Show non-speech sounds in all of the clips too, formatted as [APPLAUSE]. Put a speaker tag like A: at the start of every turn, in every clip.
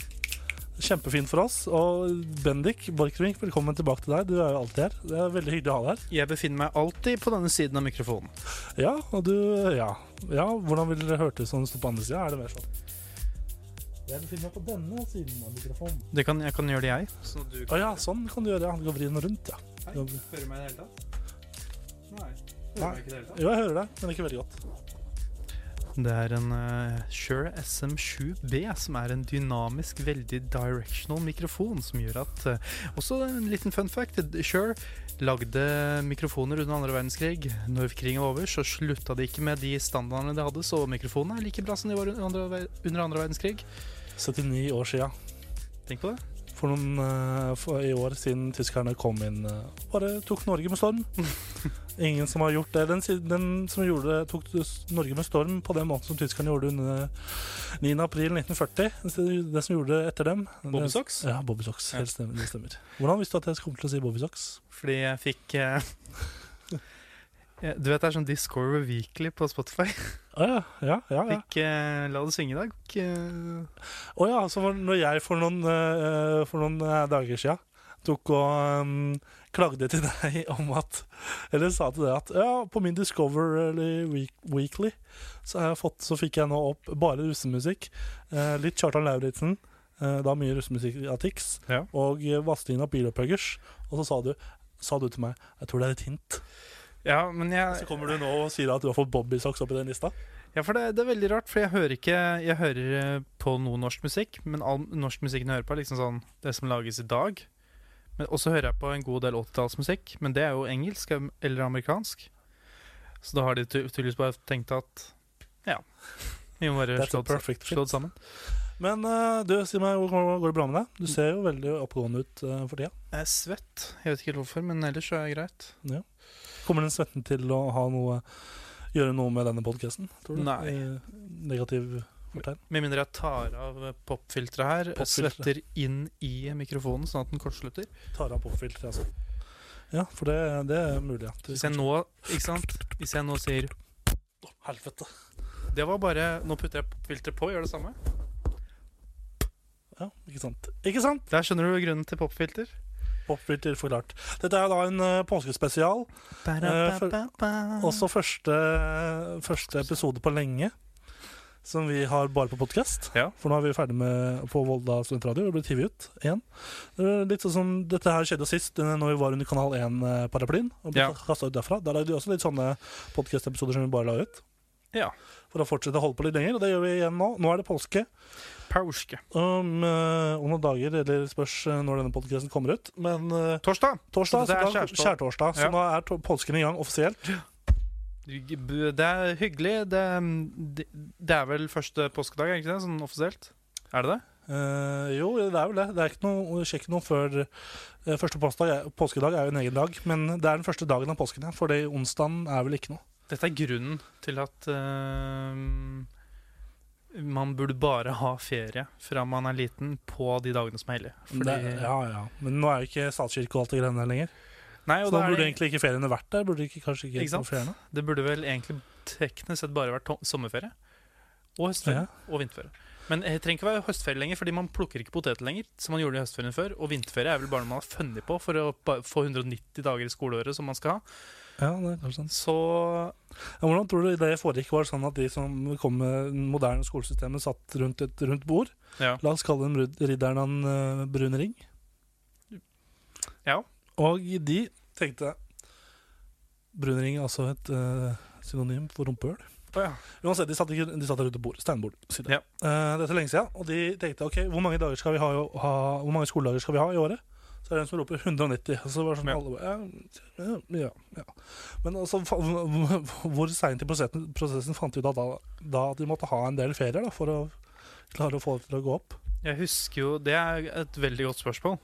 A: Kjempefint for oss. Og Bendik Borchgrevink, velkommen tilbake til deg. Du er jo alltid her. Det er veldig hyggelig å ha deg her.
B: Jeg befinner meg alltid på denne siden av mikrofonen.
A: Ja, og du Ja. ja hvordan ville det hørtes om du sto på andre sida? Er det mer sånn Jeg befinner meg på denne siden av mikrofonen.
B: Det kan, jeg kan gjøre det, jeg. Så du
A: Å ja, sånn kan du gjøre. Ja, du kan vri den rundt, ja.
B: Hei, hører du meg i det hele tatt? Nei.
A: Nei.
B: Hører du meg ikke i det hele tatt?
A: Jo, jeg hører deg, men ikke veldig godt.
B: Det er en eh, Shure SM7B, som er en dynamisk, veldig directional mikrofon, som gjør at eh, Også en liten fun fact. Shure lagde mikrofoner under andre verdenskrig. Når krigen var over, så slutta de ikke med de standardene de hadde, så mikrofonene er like bra som de var under andre ver- under andre verdenskrig.
A: 79 år sia.
B: Tenk på det.
A: For noen eh, for i år siden tyskerne kom inn eh, Bare tok Norge med [LAUGHS] storm. Ingen som har gjort det. Den, si- den som gjorde det, tok s- Norge med storm på den måten som tyskerne gjorde under 9.4.1940. Det som gjorde det etter dem det-
B: Bobbysocks?
A: Ja, Bobbysocks. Helt stemmer, det stemmer. Hvordan visste du at jeg kom til å si Bobbysocks?
B: Fordi jeg fikk eh, [LAUGHS] eh, Du vet det er sånn Discover Weekly på Spotify.
A: Å ja, ja, ja, ja.
B: Fikk eh, La det synge i dag. eh,
A: Å ja, så var det når jeg for noen, eh, for noen eh, dager sia tok og eh, klagde til [LAUGHS] deg om at Eller sa til deg at ja, på min Discover eller Week Weekly så, har jeg fått, så fikk jeg nå opp bare russemusikk. eh, litt Kjartan Lauritzen. eh, da mye russemusikk av Tix.
B: Ja.
A: Og eh, Vazelina Bilopphuggers. Og så sa du, sa du til meg Jeg tror det er et hint.
B: ja, men
A: Så
B: jeg
A: kommer du nå og sier at du har fått Bobbysocks oppi den lista.
B: Ja, for det, det er veldig rart, for jeg hører ikke Jeg hører eh, på noe norsk musikk, men all norsk musikken jeg hører på, er liksom sånn det som lages i dag. Men også hører jeg på en god del 80-tallsmusikk, men det er jo engelsk em- eller amerikansk. Så da har de ty- tydeligvis bare tenkt at Ja, vi må bare
A: That's
B: slå
A: a
B: det,
A: perfect fit.
B: slå det sammen.
A: Men eh, du, si meg, går går det bra med deg? Du ser jo veldig oppegående ut eh, for tida.
B: Jeg er svett. Jeg vet ikke helt hvorfor, men ellers så er det greit.
A: Kommer den svetten til å ha noe gjøre noe med denne podkasten?
B: Nei.
A: Negativ fortegn?
B: Med mindre jeg tar av popfilteret her,
A: Popfiltret.
B: svetter inn i mikrofonen sånn at den kortslutter.
A: Tar av påfilter, altså. Ja, for det, det er mulig. Ja.
B: Hvis jeg nå, ikke sant? Hvis jeg nå sier
A: Helvete.
B: Det var bare Nå putter jeg popfilteret på, gjør det samme.
A: Ja, ikke sant. Ikke sant?
B: Der skjønner du grunnen til popfilter.
A: Eh, Popfilter forklart. Dette er da en eh, påskespesial. Eh, for-
B: Mm.
A: Også første, første episode på lenge. Som vi har bare på podkast.
B: Ja.
A: For nå er vi ferdig med på Volda studentradio. Vi ble TV ut igjen. Det er Litt sånn som Dette her skjedde sist, eh, når vi var under Kanal 1-paraplyen. Og ble
B: Ja.
A: kastet ut derfra. Der lagde vi også litt sånne podkastepisoder som vi bare la ut.
B: Ja.
A: For å fortsette å holde på litt lenger. Og det gjør vi igjen nå. Nå er det påske.
B: Pauske.
A: Om, eh, om noen dager, eller spørs eh, når denne podkasten kommer ut. Men eh,
B: Torsdag.
A: torsdag,
B: Så det er
A: så da-
B: skjærtorsdag.
A: skjærtorsdag. Så
B: Ja.
A: nå er to- påsken i gang offisielt.
B: Det er hyggelig. Det, det, det er vel første påskedag, er det ikke det? Sånn offisielt? Er det det?
A: Eh, jo, det er vel det. Det er ikke noe, sjekk noe før eh, Første påskedag er, påskedag er jo en egen dag, men det er den første dagen av påsken, ja. For det onsdagen er vel ikke noe.
B: Dette er grunnen til at eh, man burde bare ha ferie fra man er liten på de dagene som er hellige. Fordi-
A: Det, ja, ja. Men nå er jo ikke statskirke og alt det greiene der lenger.
B: Nei,
A: Så
B: og
A: da
B: da er
A: burde
B: det,
A: egentlig ikke feriene vært der. Burde ikke, kanskje ikke,
B: Ikke sant?
A: feriene.
B: det burde vel egentlig teknisk sett bare vært to- sommerferie. Og høstferie. Og vinterferie. Men det trenger ikke være høstferie lenger, fordi man plukker ikke poteter lenger. Som man gjorde i høstferien før Og vinterferie er vel bare noe man har funnet på for å ba- få 190 dager i skoleåret som man skal ha.
A: Ja, det er kanskje sånn. sant.
B: Så
A: Ja, hvordan tror du det foregikk? Var det sånn at de som kom med det moderne skolesystemet, satt rundt et rundt bord?
B: ja.
A: La oss kalle dem rud- ridderen av en eh, brun ring.
B: Ja.
A: Og de tenkte Brunring er altså et eh, synonym for rumpehull.
B: Å ja.
A: Uansett, de satt, ikke, de satt der ute på bord, steinbord. sier det.
B: Ja.
A: Eh, dette er lenge siden, og de tenkte ok, hvor mange, dager skal vi ha, i å- ha, hvor mange skoledager skal vi ha i året? Så er det en som roper 190. Og så var det sånn
B: Ja.
A: alle bare, ja, ja, ja. Men altså, fa- hvor seint i prosessen, prosessen fant de ut at da, da at de måtte ha en del ferier da, for å klare å få det til å gå opp?
B: Jeg husker jo Det er et veldig godt spørsmål.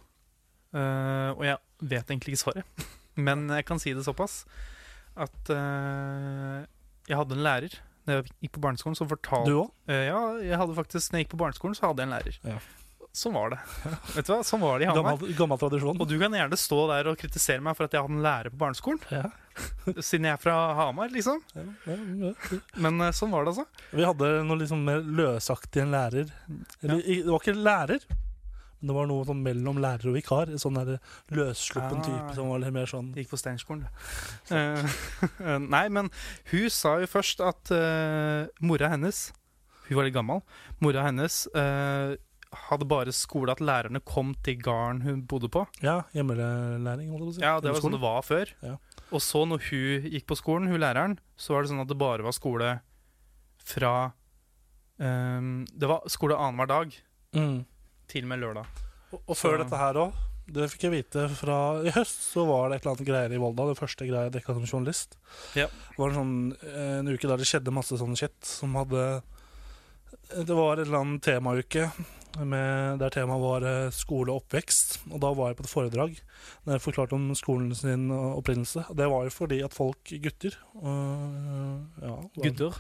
B: Eh, og jeg vet egentlig ikke svaret. [LAUGHS] Men jeg kan si det såpass at eh, jeg hadde en lærer da jeg gikk på barneskolen som fortalte
A: Du òg?
B: Eh, Ja, jeg hadde faktisk Når jeg gikk på barneskolen, så hadde jeg en lærer.
A: Ja.
B: Sånn var det. Vet du hva? Sånn var det i Hamar.
A: Gammel, gammel tradisjon.
B: Og du kan gjerne stå der og kritisere meg for at jeg hadde en lærer på barneskolen,
A: Ja,
B: siden jeg er fra Hamar, liksom.
A: ja, ja, ja.
B: Men eh, sånn var det, altså.
A: Vi hadde noe liksom mer løsaktig enn lærer. Eller, i- Det var ikke lærer, men det var noe sånn mellom lærer og vikar. En sånn der løssluppen
B: Ah.
A: type som var litt mer sånn
B: Jeg gikk på Steinskolen, du. Eh, [LAUGHS] nei, men hun sa jo først at eh, mora hennes Hun var litt gammel. Mora hennes eh, hadde bare skole at lærerne kom til gården hun bodde på.
A: Ja, hjemmelæring, holdt jeg på å si.
B: Ja, det var sånn det var før.
A: Ja.
B: Og så når hun gikk på skolen, hun læreren, så var det sånn at det bare var skole fra ehm, Det var skole annenhver dag
A: Mm.
B: til og med lørdag.
A: Og, og før
B: Så-
A: dette her òg, det fikk jeg vite fra [LAUGHS] I høst så var det et eller annet greier i Volda. Det første greia jeg dekka som journalist.
B: Ja.
A: Det var en, sånn, en uke der det skjedde masse sånn shit som hadde Det var et eller annet temauke med, der temaet var eh, skole og oppvekst. Og da var jeg på et foredrag der jeg forklarte om skolen sin opprinnelse. Og det var jo fordi at folk, gutter øh, ja, var-
B: Gutter.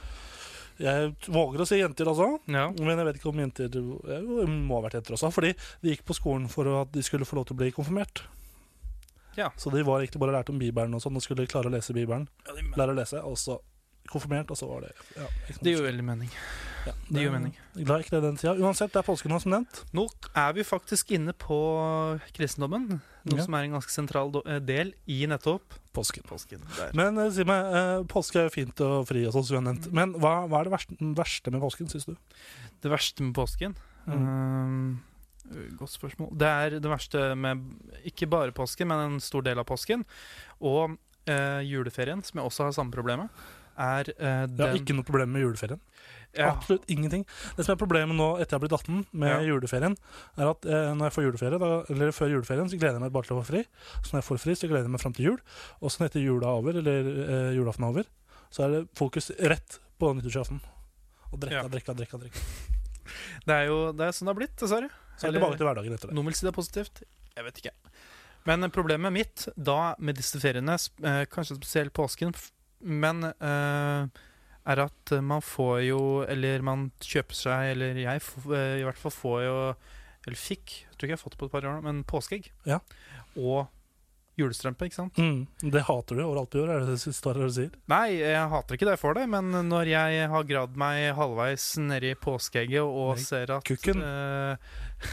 A: Jeg våger å si jenter, altså.
B: Ja.
A: Men jeg vet ikke om jenter jo, det må ha vært jenter også. Fordi de gikk på skolen for at de skulle få lov til å bli konfirmert.
B: Ja.
A: Så de var egentlig bare lært om Bibelen og sånn, og skulle klare å lese Bibelen. Lære å lese, og så konfirmert, og så var det ja, ikke sant.
B: Det gir veldig mening.
A: Ja,
B: det gir mening.
A: Glad ikke det den tida. Uansett, det er påsken nå, som nevnt.
B: Nå er vi faktisk inne på kristendommen, noe
A: Ja.
B: som er en ganske sentral do- eh, del i nettopp
A: Påsken.
B: påsken. Der.
A: Men eh, si meg, eh, påske er jo fint og fri og sånn som vi har
B: Mm.
A: nevnt. Men hva, hva er det verste, verste med påsken, syns du?
B: Det verste med påsken
A: Mm.
B: Mm. Ehm, Godt spørsmål. Det er det verste med ikke bare påsken, men en stor del av påsken. Og eh, juleferien, som jeg også har samme problemet, er eh,
A: Jeg har
B: den
A: ikke noe problem med juleferien.
B: Ja,
A: Absolutt ingenting. Det som er problemet nå etter jeg har blitt 18 med
B: Ja.
A: juleferien, er at eh, når jeg får juleferie, da, eller før juleferien, så gleder jeg meg bare til å få fri. Så når jeg får fri, så gleder jeg meg fram til jul. Og så når etter jula er over, eller eh, julaften er over, så er det fokus rett på nyttårsaften. Og drikka,
B: Ja.
A: drikka, drikka. drikka.
B: det er jo det er sånn det har blitt, dessverre.
A: Så er
B: Eller-
A: det tilbake til hverdagen etter det.
B: Noen vil si det er positivt. Jeg vet ikke. Men problemet mitt da med disse feriene, sp- eh, kanskje spesielt påsken, f- men eh, er at man får jo, eller man kjøper seg, eller jeg f- eh, i hvert fall får jo, eller fikk, jeg tror ikke jeg har fått det på et par år, nå, men påskeegg.
A: Ja.
B: Og julestrømpe, ikke sant?
A: Mm, det hater du overalt på jord, er det det siste året du sier?
B: Nei, jeg hater ikke det jeg får det, men når jeg har gravd meg halvveis nedi påskeegget og
A: Nei,
B: ser at
A: kukken.
B: eh, [LAUGHS]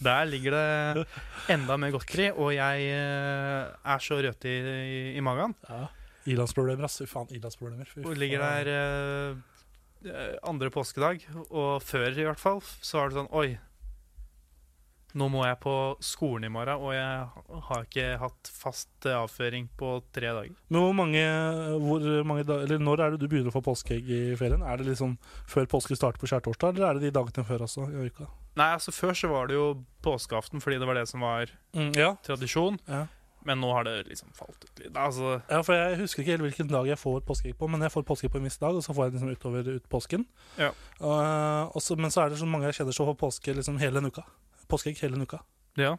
B: Der ligger det enda mer godteri, og jeg eh, er så rødt i, i, i magen.
A: Ja. Ilandsproblemer, ass. Fy faen, ilandsproblemer. Fy
B: Og ligger
A: faen.
B: der eh, eh, andre påskedag, og før i hvert fall, så var det sånn Oi, nå må jeg på skolen i morgen, og jeg har ikke hatt fast eh, avføring på tre dager.
A: Men hvor mange, hvor mange da, eller når er det du begynner å få påskeegg i ferien? Er det liksom før påske starter på skjærtorsdag, eller er det de dagene før også i uka?
B: Nei, altså Før så var det jo påskeaften fordi det var det som var
A: Mm, ja.
B: tradisjon.
A: Ja.
B: Men nå har det liksom falt ut litt. Altså,
A: for jeg husker ikke helt hvilken dag jeg får påskeegg på, men jeg får påskeegg på en viss dag, og så får jeg det liksom utover ut påsken.
B: Ja.
A: Og- og så- men så er det så mange jeg kjenner som får påske liksom hele en uka. Påskeegg hele en uka.
B: ja.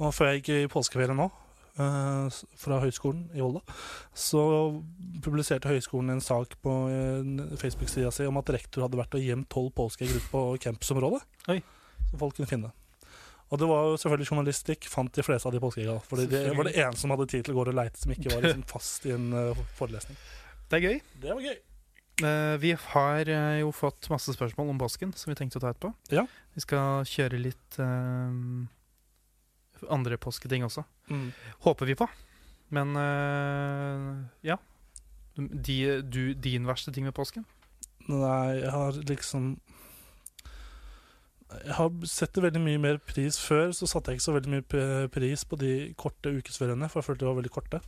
A: Og før jeg gikk i påskeferie nå, eh, s- fra Høgskolen i Volda, så publiserte Høgskolen en sak på eh, Facebook-sida si om at rektor hadde vært og gjemt tolv påskeegg ute på campusområdet.
B: Oi.
A: Som folk kunne finne. Og det var jo selvfølgelig journalistikk, fant de fleste av de påskeegga. For det var det eneste som hadde tid til å gå og leite, som ikke var liksom fast i en eh, forelesning.
B: Det er gøy.
A: Det var gøy.
B: Eh, vi har eh, jo fått masse spørsmål om påsken som vi tenkte å ta etterpå.
A: Ja.
B: Vi skal kjøre litt eh, andre påsketing også.
A: Mm.
B: Håper vi på. Men eh, ja. De, du, din verste ting med påsken?
A: Nei, jeg har liksom Jeg har sett det veldig mye mer pris før. Så satte jeg ikke så veldig mye p- pris på de korte ukesferiene, for jeg følte de var veldig korte.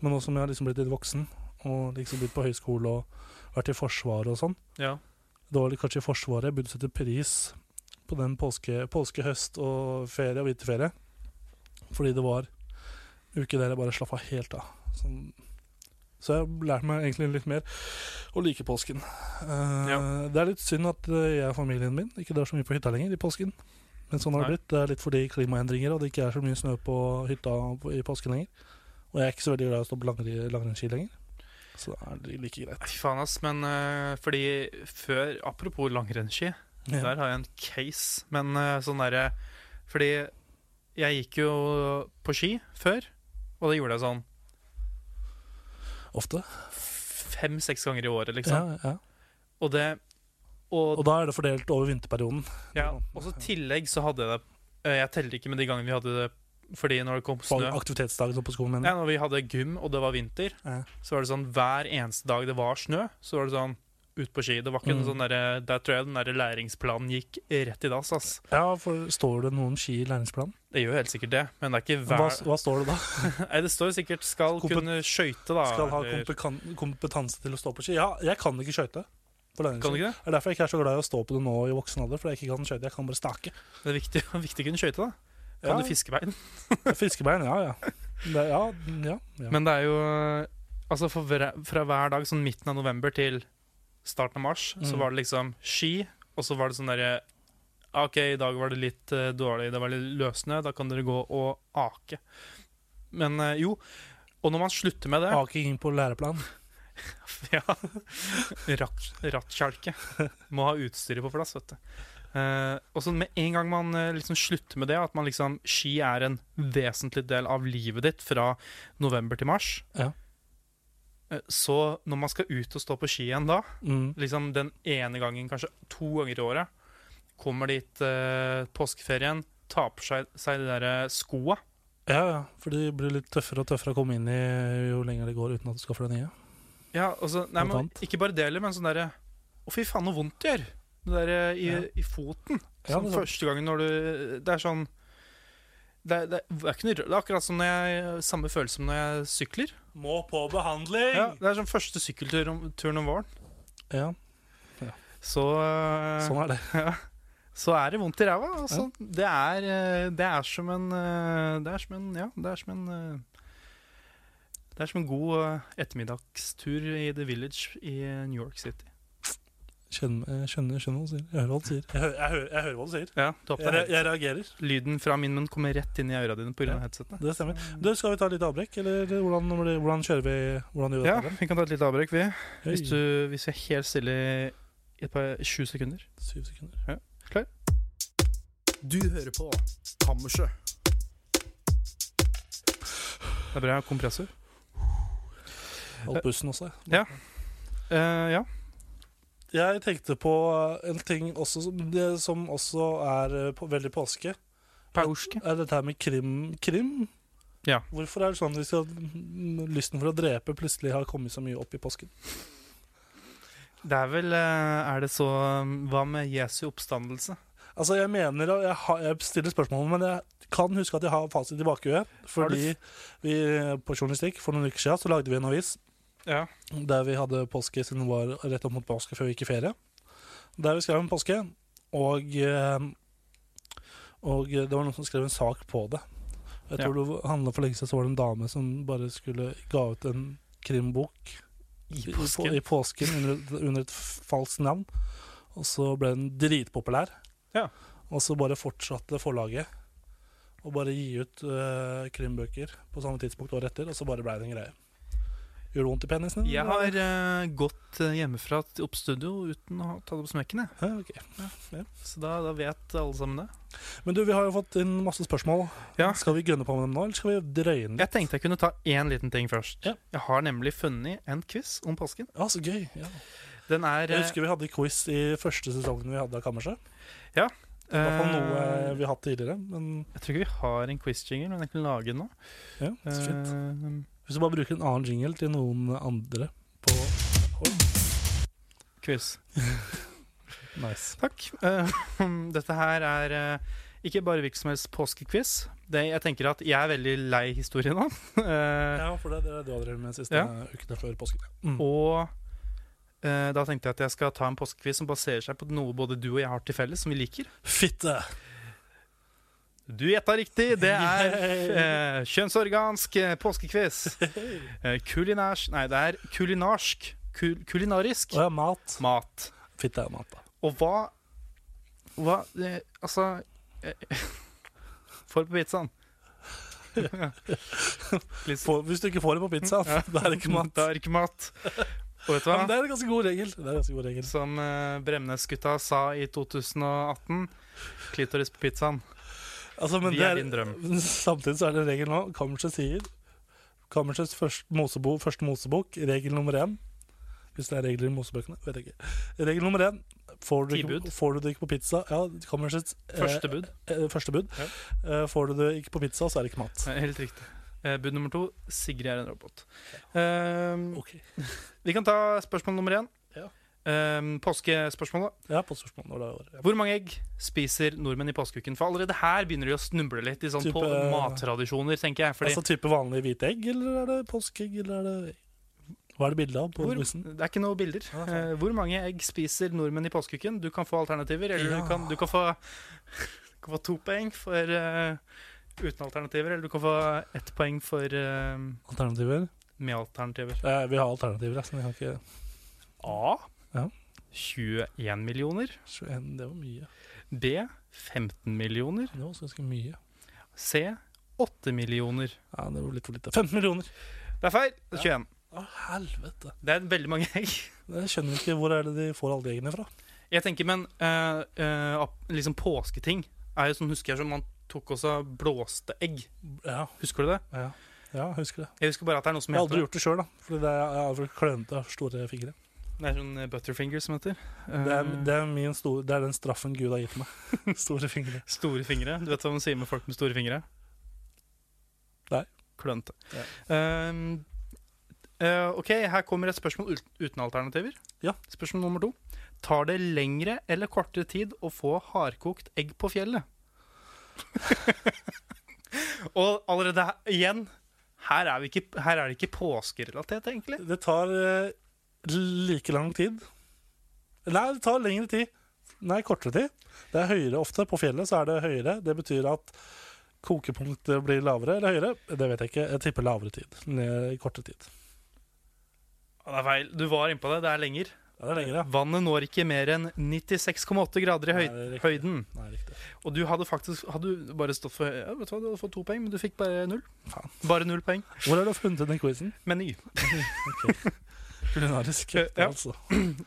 A: Men nå som jeg har liksom blitt litt voksen og liksom begynt på høyskole og vært i Forsvaret og sånn.
B: Ja.
A: Det var vel kanskje i Forsvaret jeg begynte å sette pris på den påske, påskehøst og ferie og vinterferie. Fordi det var uker der jeg bare slappa helt av. Sånn. Så jeg lærte meg egentlig litt mer å like påsken. Eh,
B: Ja.
A: Det er litt synd at eh, jeg og familien min ikke drar så mye på hytta lenger i påsken. Men sånn har det
B: Nei.
A: blitt. Det er litt fordi klimaendringer og det ikke er så mye snø på hytta på- i påsken lenger. Og jeg er ikke så veldig glad i å stå på langri- langrennsski lenger. Så da er det like greit.
B: Fy faen, ass. Men eh, fordi før Apropos langrennsski. Der har jeg en case. Men eh, sånn derre Fordi jeg gikk jo på ski før, og det gjorde jeg sånn
A: Ofte.
B: fem-seks ganger i året, liksom.
A: Ja, ja.
B: Og det og,
A: Og da er det fordelt over vinterperioden.
B: ja, og så i tillegg så hadde jeg det eh, Jeg teller ikke med de gangene vi hadde det fordi når det kom
A: På
B: snø
A: aktivitetsdagen oppe på skolen min.
B: Ja, når vi hadde gym og det var vinter,
A: Ja.
B: så var det sånn hver eneste dag det var snø, så var det sånn ut på ski. Det var ikke
A: Mm.
B: noe sånn derre Der tror jeg den derre læringsplanen gikk rett i dass, ass.
A: Ja, for står det noe om ski i læringsplanen?
B: Det gjør jo helt sikkert det, men det er ikke
A: Hva,
B: hver
A: hva står det da?
B: [LAUGHS] Nei, det står sikkert 'skal
A: Kompet-
B: kunne skøyte', da. Eh,
A: Skal ha
B: eller-
A: kompekan- kompetanse til å stå på ski? Ja, jeg kan ikke skøyter. på
B: Kan du
A: læringsski.
B: ikke det?
A: Det er derfor jeg ikke er så glad i å stå på det nå i voksen alder. Fordi jeg ikke kan skøyte, jeg kan bare stake.
B: Det er viktig, [LAUGHS] viktig å kunne skøyte, da. Kan
A: Ja.
B: du fiskebein?
A: [LAUGHS] Fiskebein, ja ja. Det, ja, ja, ja.
B: Men det er jo Altså, for hver, fra hver dag sånn midten av november til starten av mars, så
A: Mm.
B: var det liksom ski, og så var det sånn derre OK, i dag var det litt eh, dårlig, det var litt løssnø, da kan dere gå og ake. Men eh, jo. Og når man slutter med det
A: Aking inn på læreplan. [LAUGHS]
B: Ja. Ratt, rattkjelke. Må ha utstyret på plass, vet du. Eh, og så med en gang man eh, liksom slutter med det, at man liksom ski er en vesentlig del av livet ditt fra november til mars,
A: Ja.
B: eh, så når man skal ut og stå på ski igjen da,
A: Mm.
B: liksom den ene gangen, kanskje to ganger i året, kommer dit eh, påskeferien, tar på seg, seg de der eh, skoa.
A: Ja, ja, for de blir litt tøffere og tøffere å komme inn i jo lenger det går uten at du skaffer deg nye.
B: Ja, altså, nei,
A: Noe
B: men,
A: annet?
B: ikke bare det heller, men sånn derre Å, fy faen, så vondt det gjør! Det derre i,
A: Ja.
B: i foten.
A: Ja,
B: Sånn
A: det er sant.
B: første gangen når du Det er sånn det er, det, er, det er ikke noe rø- Det er akkurat som når jeg samme følelse som når jeg sykler.
A: Må på behandling!
B: Ja, det er sånn første sykkeltur om, turen om våren.
A: Ja,
B: Så, eh,
A: sånn er det.
B: så er det vondt i ræva. Altså. Det, er, eh, det er som en eh, Det er som en Ja, det er som en eh, Det er som en god eh, ettermiddagstur i The Village i New York City.
A: Skjønner, jeg skjønner, skjønner hva du sier. Jeg hører hva du sier. Jeg, hø- jeg, hører, jeg hører hva du sier.
B: Ja, du har på
A: Jeg,
B: deg
A: re- jeg reagerer.
B: Lyden fra min munn kommer rett inn i øra dine pga.
A: Ja.
B: headsetet.
A: Det stemmer. Du, skal vi ta litt avbrekk, eller hvordan, hvordan kjører vi hvordan gjør vi
B: Ja,
A: dette?
B: vi kan ta et lite avbrekk, vi.
A: Hei.
B: Hvis, du, hvis vi er helt stille i et par 20 sekunder.
A: Syv sekunder.
C: Du hører på Kammerset.
B: Det er bra kompressor.
A: Alt bussen også. jeg.
B: Eh, ja.
A: Jeg tenkte på eh, en ting også som, det, som også er eh, på, veldig påske.
B: Pauske.
A: Er dette her med krim? krim?
B: Ja.
A: Hvorfor er det sånn at hvis jeg- lysten for å drepe plutselig har kommet så mye opp i påsken?
B: Det er vel eh, Er det så Hva med Jesu oppstandelse?
A: Altså, jeg mener, og jeg, har, jeg stiller spørsmål, men jeg kan huske at jeg har fasit i bakhuet. Fordi vi på Journalistikk for noen uker siden så lagde vi en avis
B: Ja.
A: der vi hadde påske siden det var rett opp mot påske før vi gikk i ferie. Der vi skrev om påske, og, eh, og det var noen som skrev en sak på det. Jeg
B: Ja.
A: tror det handla for lenge siden så var det en dame som bare skulle ga ut en krimbok
B: I
A: på- i påsken under, under et falskt navn. Og så ble den dritpopulær.
B: Ja.
A: Og så bare fortsatte forlaget å bare gi ut eh, krimbøker på samme tidspunkt året etter, og så bare blei det en greie. Gjorde det vondt i penisen?
B: Jeg har eh, gått eh, hjemmefra til oppstudio uten å ha tatt opp smekken, jeg.
A: Ja, ok.
B: Så da, da vet alle sammen det.
A: Men du, vi har jo fått inn masse spørsmål.
B: Ja.
A: Skal vi gønne på med dem nå, eller skal vi drøye den litt?
B: Jeg tenkte jeg kunne ta én liten ting først.
A: Ja.
B: Jeg har nemlig funnet en quiz om påsken.
A: Ja, så gøy. Ja.
B: Den er
A: Jeg husker vi hadde quiz i første sesongen vi hadde av Kammerset. I hvert fall noe eh,
B: noe
A: vi har hatt tidligere. Men
B: Jeg tror ikke vi har en quiz-jingle, men jeg kan lage den nå.
A: ja, så fint.
B: Eh,
A: Hvis du bare bruker en annen jingle til noen andre på
B: quiz.
A: Nice.
B: [LAUGHS] Takk. Eh, dette her er eh, Ikke bare hvilken som helst påskequiz. Det, jeg tenker at jeg er veldig lei historien nå. [LAUGHS] Eh,
A: Ja, for det er det du har drevet med de siste
B: Ja.
A: ukene før påsken. Mm.
B: Og eh, da tenkte jeg at jeg skal ta en påskequiz som baserer seg på noe både du og jeg har til felles, som vi liker.
A: Fitte!
B: Du gjetta riktig! Det
A: [LAUGHS]
B: er
A: Yay!
B: eh, kjønnsorgansk eh, påskequiz.
A: [LAUGHS]
B: Eh, kulinærsk Nei, det er kulinarsk. Kul, kulinarisk
A: Og ja, mat.
B: mat.
A: Fitte er mat, da.
B: Og hva Hva eh, Altså eh, [LAUGHS] For på
A: [LAUGHS]
B: pizzaen. Litt
A: Få- hvis du ikke får det på pizza, [LAUGHS] da er det ikke mat.
B: Da er det ikke mat. Og vet du
A: Ja,
B: hva?
A: men det er en ganske god regel. Det er en ganske god regel.
B: Som eh, Bremnes-gutta sa i 2018 Klitoris på pizzaen.
A: Altså, men
B: Vi
A: det
B: er din drøm.
A: [LAUGHS] Samtidig så er det en regel nå. Kammerset sier Kammersets første mosebok, første mosebok, regel nummer én Hvis det er regler i mosebøkene, vet jeg ikke. Regel nummer én Får du,
B: Tilbud.
A: ikke, får du det ikke på pizza Ja, Kammersets eh,
B: Første bud.
A: eh, første bud. Eh, får du det ikke på pizza, så er det ikke mat.
B: Eh, Helt riktig. Eh, bud nummer to Sigrid er en robot. Eh,
A: Ok.
B: vi kan ta spørsmål nummer én.
A: Ja.
B: Eh, påskespørsmålet.
A: Ja, på spørsmål når det er over.
B: Hvor mange egg spiser nordmenn i påskeuken? For allerede her begynner de å snuble litt i sånn
A: Type- eh,
B: på mattradisjoner, tenker jeg. Fordi
A: Altså type vanlig hvite egg, eller er det påskeegg, eller er det Hva er det bilde av på
B: hvor,
A: bussen?
B: det er ikke noe bilder.
A: Ja, sånn. faen.
B: Eh, hvor mange egg spiser nordmenn i påskeuken? Du kan få alternativer, eller
A: Ja.
B: du, kan, du, kan få, [LAUGHS] du kan få to poeng for eh, uten alternativer, eller du kan få ett poeng for eh,
A: Alternativer?
B: med alternativer.
A: Eh, vi har alternativer, jeg, så vi kan ikke
B: A.
A: Ja.
B: 21 millioner.
A: 21, det var mye.
B: B. 15 millioner.
A: Det var også ganske mye.
B: C. 8 millioner.
A: Ja, det var litt for lite. 15 millioner!
B: Det er feil! 21.
A: Å, helvete.
B: Det er veldig mange egg.
A: Jeg skjønner ikke hvor er det de får alle de eggene fra.
B: Jeg tenker, men eh, eh, ap- liksom påsketing er jo sånn, husker jeg, som man tok også blåste egg.
A: Ja,
B: Husker du det?
A: ja. ja jeg husker det.
B: Jeg husker bare at det er noe som
A: Jeg har aldri
B: heter det.
A: gjort det sjøl, da. Fordi det er, jeg har for klønete store fingre.
B: Det er sånn eh, butterfinger som heter.
A: Det er,
B: Eh,
A: det, er min store, det er den straffen Gud har gitt meg. [LAUGHS] Store fingre.
B: Store fingre. Du vet hva man sier med folk med store fingre?
A: Nei.
B: Klønete. Um, eh, ok, her kommer et spørsmål ut- uten alternativer.
A: Ja.
B: Spørsmål nummer to. Tar det lengre eller kortere tid å få hardkokt egg på fjellet? [LAUGHS] Og allerede her, igjen her er, vi ikke, her er det ikke påskerelatert, egentlig.
A: Det tar eh, like lang tid. Nei, det tar lengre tid. Nei, kortere tid. Det er høyere ofte. På fjellet så er det høyere. Det betyr at kokepunktet blir lavere eller høyere. Det vet jeg ikke. Jeg tipper lavere tid. Ned i kortere tid.
B: Å, Det er feil. Du var innpå det. Det er lenger.
A: Ja, det er lengre, ja.
B: Vannet når ikke mer enn 96,8 grader i
A: Nei,
B: høy
A: det er riktig.
B: høyden.
A: Nei, riktig.
B: Og du hadde faktisk hadde du bare stått for ja, vet du hva, du hadde fått to poeng, men du fikk bare null.
A: Faen.
B: Bare null poeng.
A: Hvor har du funnet den quizen?
B: Meny.
A: Kulinarisk.
B: Eh, ja.
A: altså.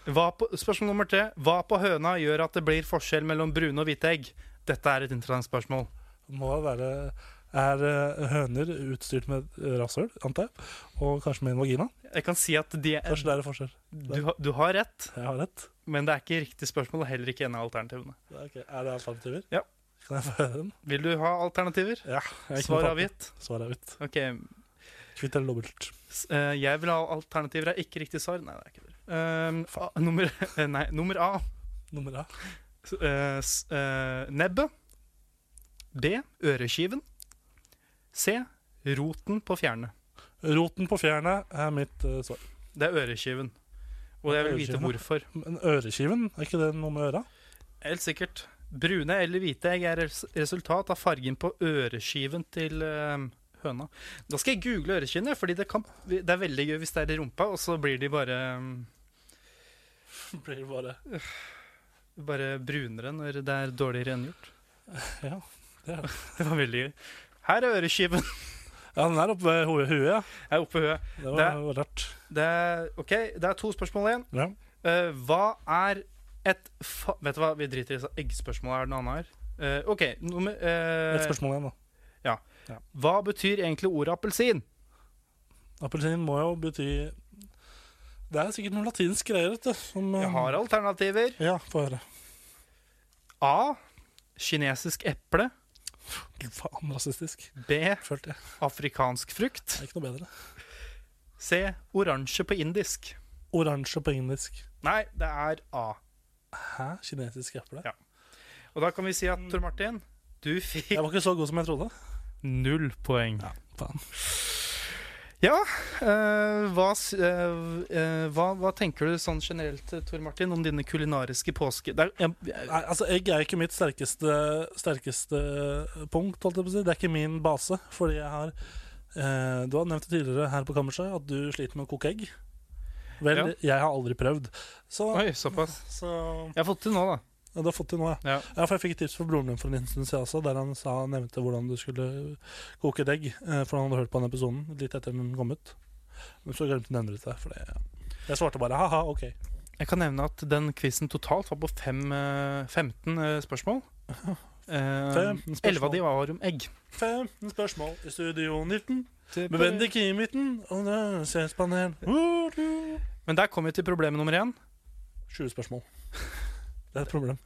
B: Hva på- Spørsmål nummer tre. Hva på høna gjør at det blir forskjell mellom brune og hvite egg? Dette er et interessant spørsmål.
A: Må det være Er eh, høner utstyrt med eh, rasshøl, antar jeg? Og kanskje med en vagina?
B: Jeg kan si at de er,
A: Kanskje det er en forskjell.
B: du, har- du har rett,
A: Jeg har rett.
B: men det er ikke riktig spørsmål, og heller ikke en av alternativene.
A: Ja, ok. Er det alternativer?
B: Ja.
A: Kan jeg få høre dem?
B: Vil du ha alternativer?
A: Ja.
B: Svar avgitt.
A: Svar avgitt.
B: Ok.
A: Kvitt eller dobbelt.
B: S- eh, jeg vil ha alternativer. Er ikke riktig svar. Nei, det er ikke det. Um, a, nummer, [LAUGHS] nei, nummer A.
A: Nummer A.
B: S- eh, s- eh, nebbet. B. Øreskiven. C. Roten på fjærene.
A: Roten på fjærene er mitt eh, svar.
B: Det er øreskiven. Og jeg vil vite
A: Øreskiven, ja.
B: hvorfor.
A: Men øreskiven, er ikke det noe med øra?
B: Helt sikkert. Brune eller hvite egg er res- resultat av fargen på øreskiven til eh, høna. Da skal jeg google øreskiven, jeg, fordi det, kan, det er veldig gøy hvis det er i rumpa, og så blir de
A: [LAUGHS]
B: bare, mm,
A: Blir det bare
B: bare brunere når det er dårlig rengjort.
A: Ja. Det er det.
B: [LAUGHS] Det var veldig gøy. Her er øreskiven.
A: Ja, den er oppe ved ho- huet, ja.
B: Jeg er oppe i høet.
A: Det var
B: Det-
A: var rart.
B: Det er, ok, det er to spørsmål igjen.
A: Ja.
B: Eh, hva er et fa... Vet du hva, vi driter i så- eggspørsmålet. Er det noe annet her? Eh, OK. Nummer, eh,
A: Et spørsmål igjen, da.
B: Hva betyr egentlig ordet appelsin?
A: Appelsin må jo bety Det er sikkert noen latinsk greier, vet du. Som, eh,
B: Jeg har alternativer.
A: Ja, få høre.
B: A. Kinesisk eple.
A: Faen, rasistisk.
B: B.
A: Følte jeg.
B: Afrikansk frukt.
A: Det er ikke noe bedre.
B: C. Oransje på indisk.
A: Oransje på engelsk.
B: Nei, det er A.
A: Hæ? Kinesisk eple?
B: Ja. Og da kan vi si at Tor Martin, Du fikk
A: Jeg var ikke så god som jeg trodde.
B: null poeng.
A: Ja, faen.
B: Ja, eh, hva, s- eh, eh, hva, hva tenker du sånn generelt, eh, Tor Martin, om dine kulinariske påske... Det er, jeg, jeg,
A: Nei, altså, egg er ikke mitt sterkeste, sterkeste eh, punkt, holdt jeg på å si. Det er ikke min base, fordi jeg har eh, Du har nevnt det tidligere her på kammerset at du sliter med å koke egg. Vel,
B: Ja.
A: jeg har aldri prøvd. Så,
B: oi, såpass.
A: så
B: Jeg har fått til nå, da.
A: ja, Du har fått til nå, ja.
B: Ja.
A: Ja, for jeg fikk et tips fra broren min for en stund siden også, der han sa, nevnte hvordan du skulle koke et egg. eh, For han hadde hørt på den episoden litt etter den kom ut. Men så glemte han å nevne det. til deg, For det ja. Jeg svarte bare ha-ha, ok.
B: Jeg kan nevne at den quizen totalt var på fem, eh, 15 eh, spørsmål. Eh,
A: 15 spørsmål.
B: 11 av de var om egg.
A: 15 spørsmål i studio 19. Med Bendik i midten. Og det er CS-panel.
B: Men der kom vi til problem nummer én.
A: 20 spørsmål. Det er et problem.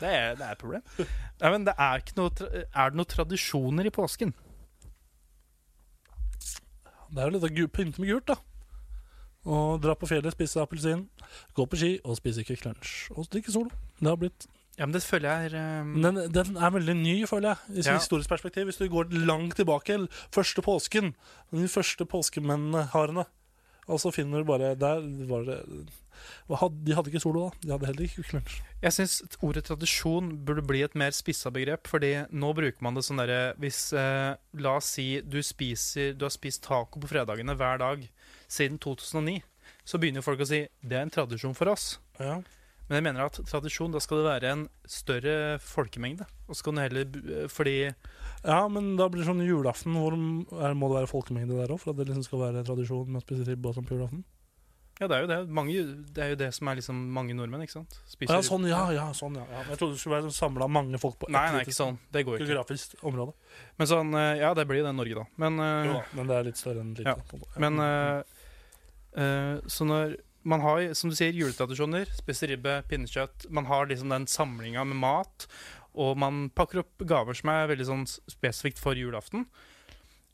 B: Det er, det er et problem. Nei, men det er, ikke noe, tra- er det noen tradisjoner i påsken?
A: Det er jo litt å gu- pynte med gult, da. Og dra på fjellet, spise appelsin, gå på ski og spise Kvikk Lunsj. Og drikke solo. Det har blitt
B: Ja, men det føler jeg er eh,
A: Den, den er veldig ny, føler jeg, i
B: Ja.
A: ja. historisk perspektiv. Hvis du går langt tilbake, l- første påsken, de første påskemennene harene, og så finner du bare Der var det hva had- De hadde ikke solo da. De hadde heller ikke Kvikk Lunsj.
B: Jeg syns ordet tradisjon burde bli et mer spissa begrep, fordi nå bruker man det sånn derre Hvis eh, La oss si du spiser Du har spist taco på fredagene hver dag siden 2009. Så begynner jo folk å si det er en tradisjon for oss.
A: Ja.
B: Men jeg mener at tradisjon, da skal det være en større folkemengde. Og så kan du heller b- Fordi
A: ja, men da blir det sånn julaften, hvor m- er, må det være folkemengde der òg, for at det liksom skal være tradisjon med å spise ribbe og sånn på julaften?
B: Ja, det er jo det. Mange, det er jo det som er liksom mange nordmenn, ikke sant? Spiser
A: Ja, sånn, ja, ja, sånn, ja. ja. Men Jeg trodde det skulle være sånn samla mange folk på
B: Nei, nei, ikke sånn. Det går jo ikke.
A: geografisk område.
B: Men sånn eh, Ja, det blir jo det Norge, da. Men eh,
A: Jo da, men det er litt sånn. større enn lite.
B: Ja, Men eh, eh, så når man har, som du sier, juletradisjoner, spiser ribbe, pinnekjøtt Man har liksom den samlinga med mat, og man pakker opp gaver som er veldig sånn spesifikt for julaften.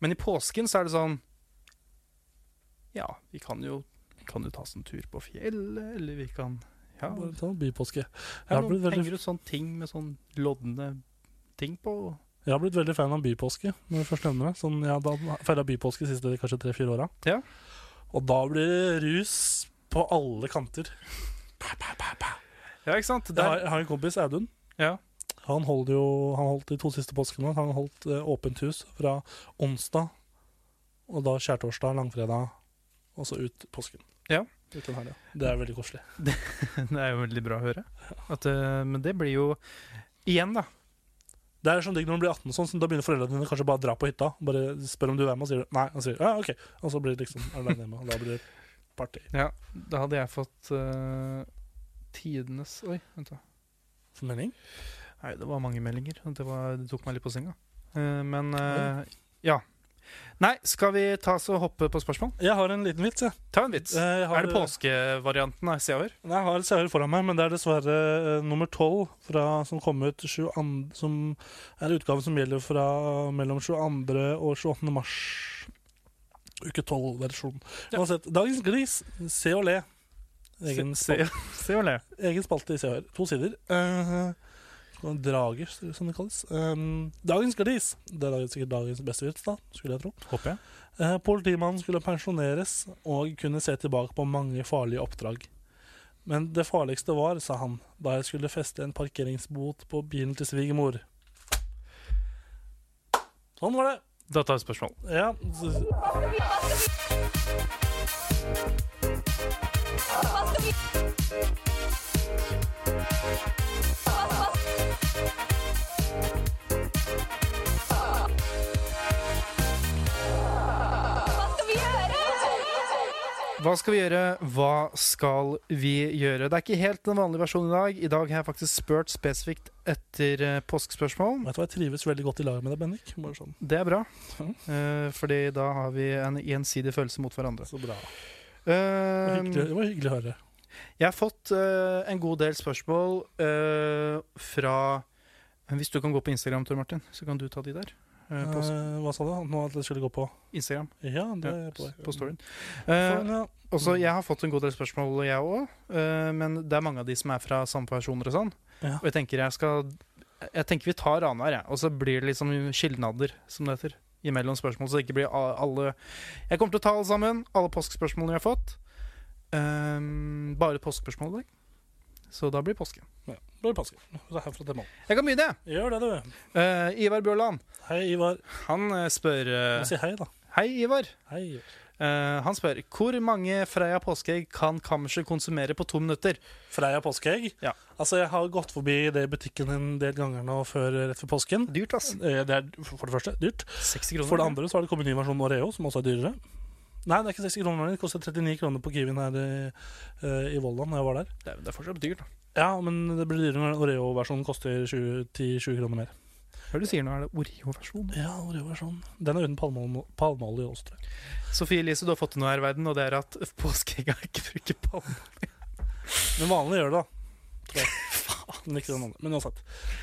B: Men i påsken så er det sånn Ja, vi kan jo, vi kan jo ta oss en tur på fjellet, eller vi kan Ja,
A: Bare ta en bypåske.
B: det
A: har blitt veldig-
B: henger ut sånne ting med sånn lodne ting på.
A: Jeg har blitt veldig fan av bypåske. når jeg først nevner det. Sånn, jeg har feira bypåske de siste kanskje tre-fire åra.
B: Ja.
A: Og da blir det rus på alle kanter.
B: Ja, ikke sant?
A: Jeg har,
B: Der,
A: jeg har en kompis, Audun.
B: Ja. [LAUGHS]
A: Han, holder jo, han holdt de to siste påskene. Han holdt eh, åpent hus fra onsdag, og da skjærtorsdag, langfredag, og så ut påsken.
B: Ja.
A: Ut den helga. Det er veldig koselig.
B: det er jo veldig bra å høre. At, eh, men det blir jo Igjen, da.
A: Det er sånn digg når man blir 18, og sånn, så da begynner foreldrene dine kanskje bare å dra på hytta. Bare spør om du er med, og sier du nei. Og, sier, ja, ok. og så blir det liksom alene hjemme. Og da blir det party.
B: Ja, da hadde jeg fått eh, tidenes Oi, vent da.
A: Mening?
B: Nei, det var mange meldinger. Det, var, det tok meg litt på senga. Eh, men eh, ja. Nei, skal vi ta oss og hoppe på spørsmål?
A: Jeg har en liten vits, jeg.
B: Ta en vits.
A: jeg har,
B: er det påskevarianten av Seaver?
A: Nei, Jeg har et sauer foran meg, men det er dessverre eh, nummer tolv som kom ut 22, som er utgaven som gjelder fra mellom 22. og 28. mars. Uke 12-versjonen.
B: Ja.
A: Uansett, Dagens glis, se og le. Egen,
B: Se,
A: spal
B: se og le.
A: egen spalte i Se og Hør. To sider. Eh, og drager, som det kalles. Eh, dagens glis. Det er da sikkert dagens beste vits, da, skulle jeg tro.
B: Håper jeg.
A: Eh, Politimannen skulle pensjoneres og kunne se tilbake på mange farlige oppdrag. Men det farligste var, sa han, da jeg skulle feste en parkeringsbot på bilen til svigermor. Sånn var det.
B: Da tar vi spørsmål.
A: Ja. så-
B: Hva skal vi gjøre? Hva skal vi gjøre? Det er ikke helt den vanlige versjonen i dag. I dag har jeg faktisk spurt spesifikt etter eh, påskespørsmål.
A: Vet du hva, jeg trives veldig godt i lag med deg, Bendik. Bare sånn.
B: Det er bra,
A: Ja.
B: eh, fordi da har vi en gjensidig følelse mot hverandre.
A: Så bra. Det var
B: Eh,
A: hyggelig, det var hyggelig å høre.
B: Jeg har fått eh, en god del spørsmål eh, fra Hvis du kan gå på Instagram, Tor Martin, så kan du ta de der. eh, på s-
A: Eh, hva sa du? Nå at det skulle gå på
B: Instagram.
A: Ja, det
B: Ja,
A: er på,
B: på storyen.
A: For en,
B: Eh,
A: ja.
B: også, jeg har fått en god del spørsmål, eh, jeg òg. men det er mange av de som er fra samme personer og sånn.
A: Ja.
B: Og jeg tenker jeg skal Jeg tenker vi tar annenhver, jeg. Og så blir det liksom skilnader, som det heter, imellom spørsmål. Så det ikke blir a- alle Jeg kommer til å ta alle sammen. Alle påskespørsmålene vi har fått. Ehm, bare påskespørsmål i dag. Så da blir det påske.
A: Det blir påske. Så herfra til mål.
B: Jeg kan begynne, jeg.
A: Gjør det, du.
B: Eh, Ivar Bjørland,
A: Hei, Ivar.
B: han eh, spør eh,
A: Si hei, da.
B: Hei, Ivar.
A: Hei. Ivar.
B: Eh, han spør hvor mange Freia påskeegg kan kammerset konsumere på to minutter.
A: Freia påskeegg.
B: Ja.
A: Altså, jeg har gått forbi det i butikken en del ganger nå før rett før påsken.
B: Dyrt, ass.
A: Eh, Det er for det første dyrt.
B: 60 kroner.
A: For det andre så har det kommet en ny versjon Oreo, som også er dyrere. Nei, det er ikke 60 kroner lenger. Det koster 39 kroner på Kiwien her i, eh, i Volda når jeg var der.
B: Det er, det er fortsatt dyrt. da.
A: Ja, men det blir dyrere når Oreo-versjonen koster 20 10-20 kroner mer.
B: Hør du sier nå er det Oreo-versjon.
A: Ja, Oreo-versjonen. Den er uten palmeolje palmeolje også, tror jeg.
B: Sofie Elise, du har fått til noe her i verden, og det er at [LAUGHS] påskeegga ikke bruker palme.
A: Men vanlig gjør det, da. Tror jeg. Men ikke den andre. Men uansett.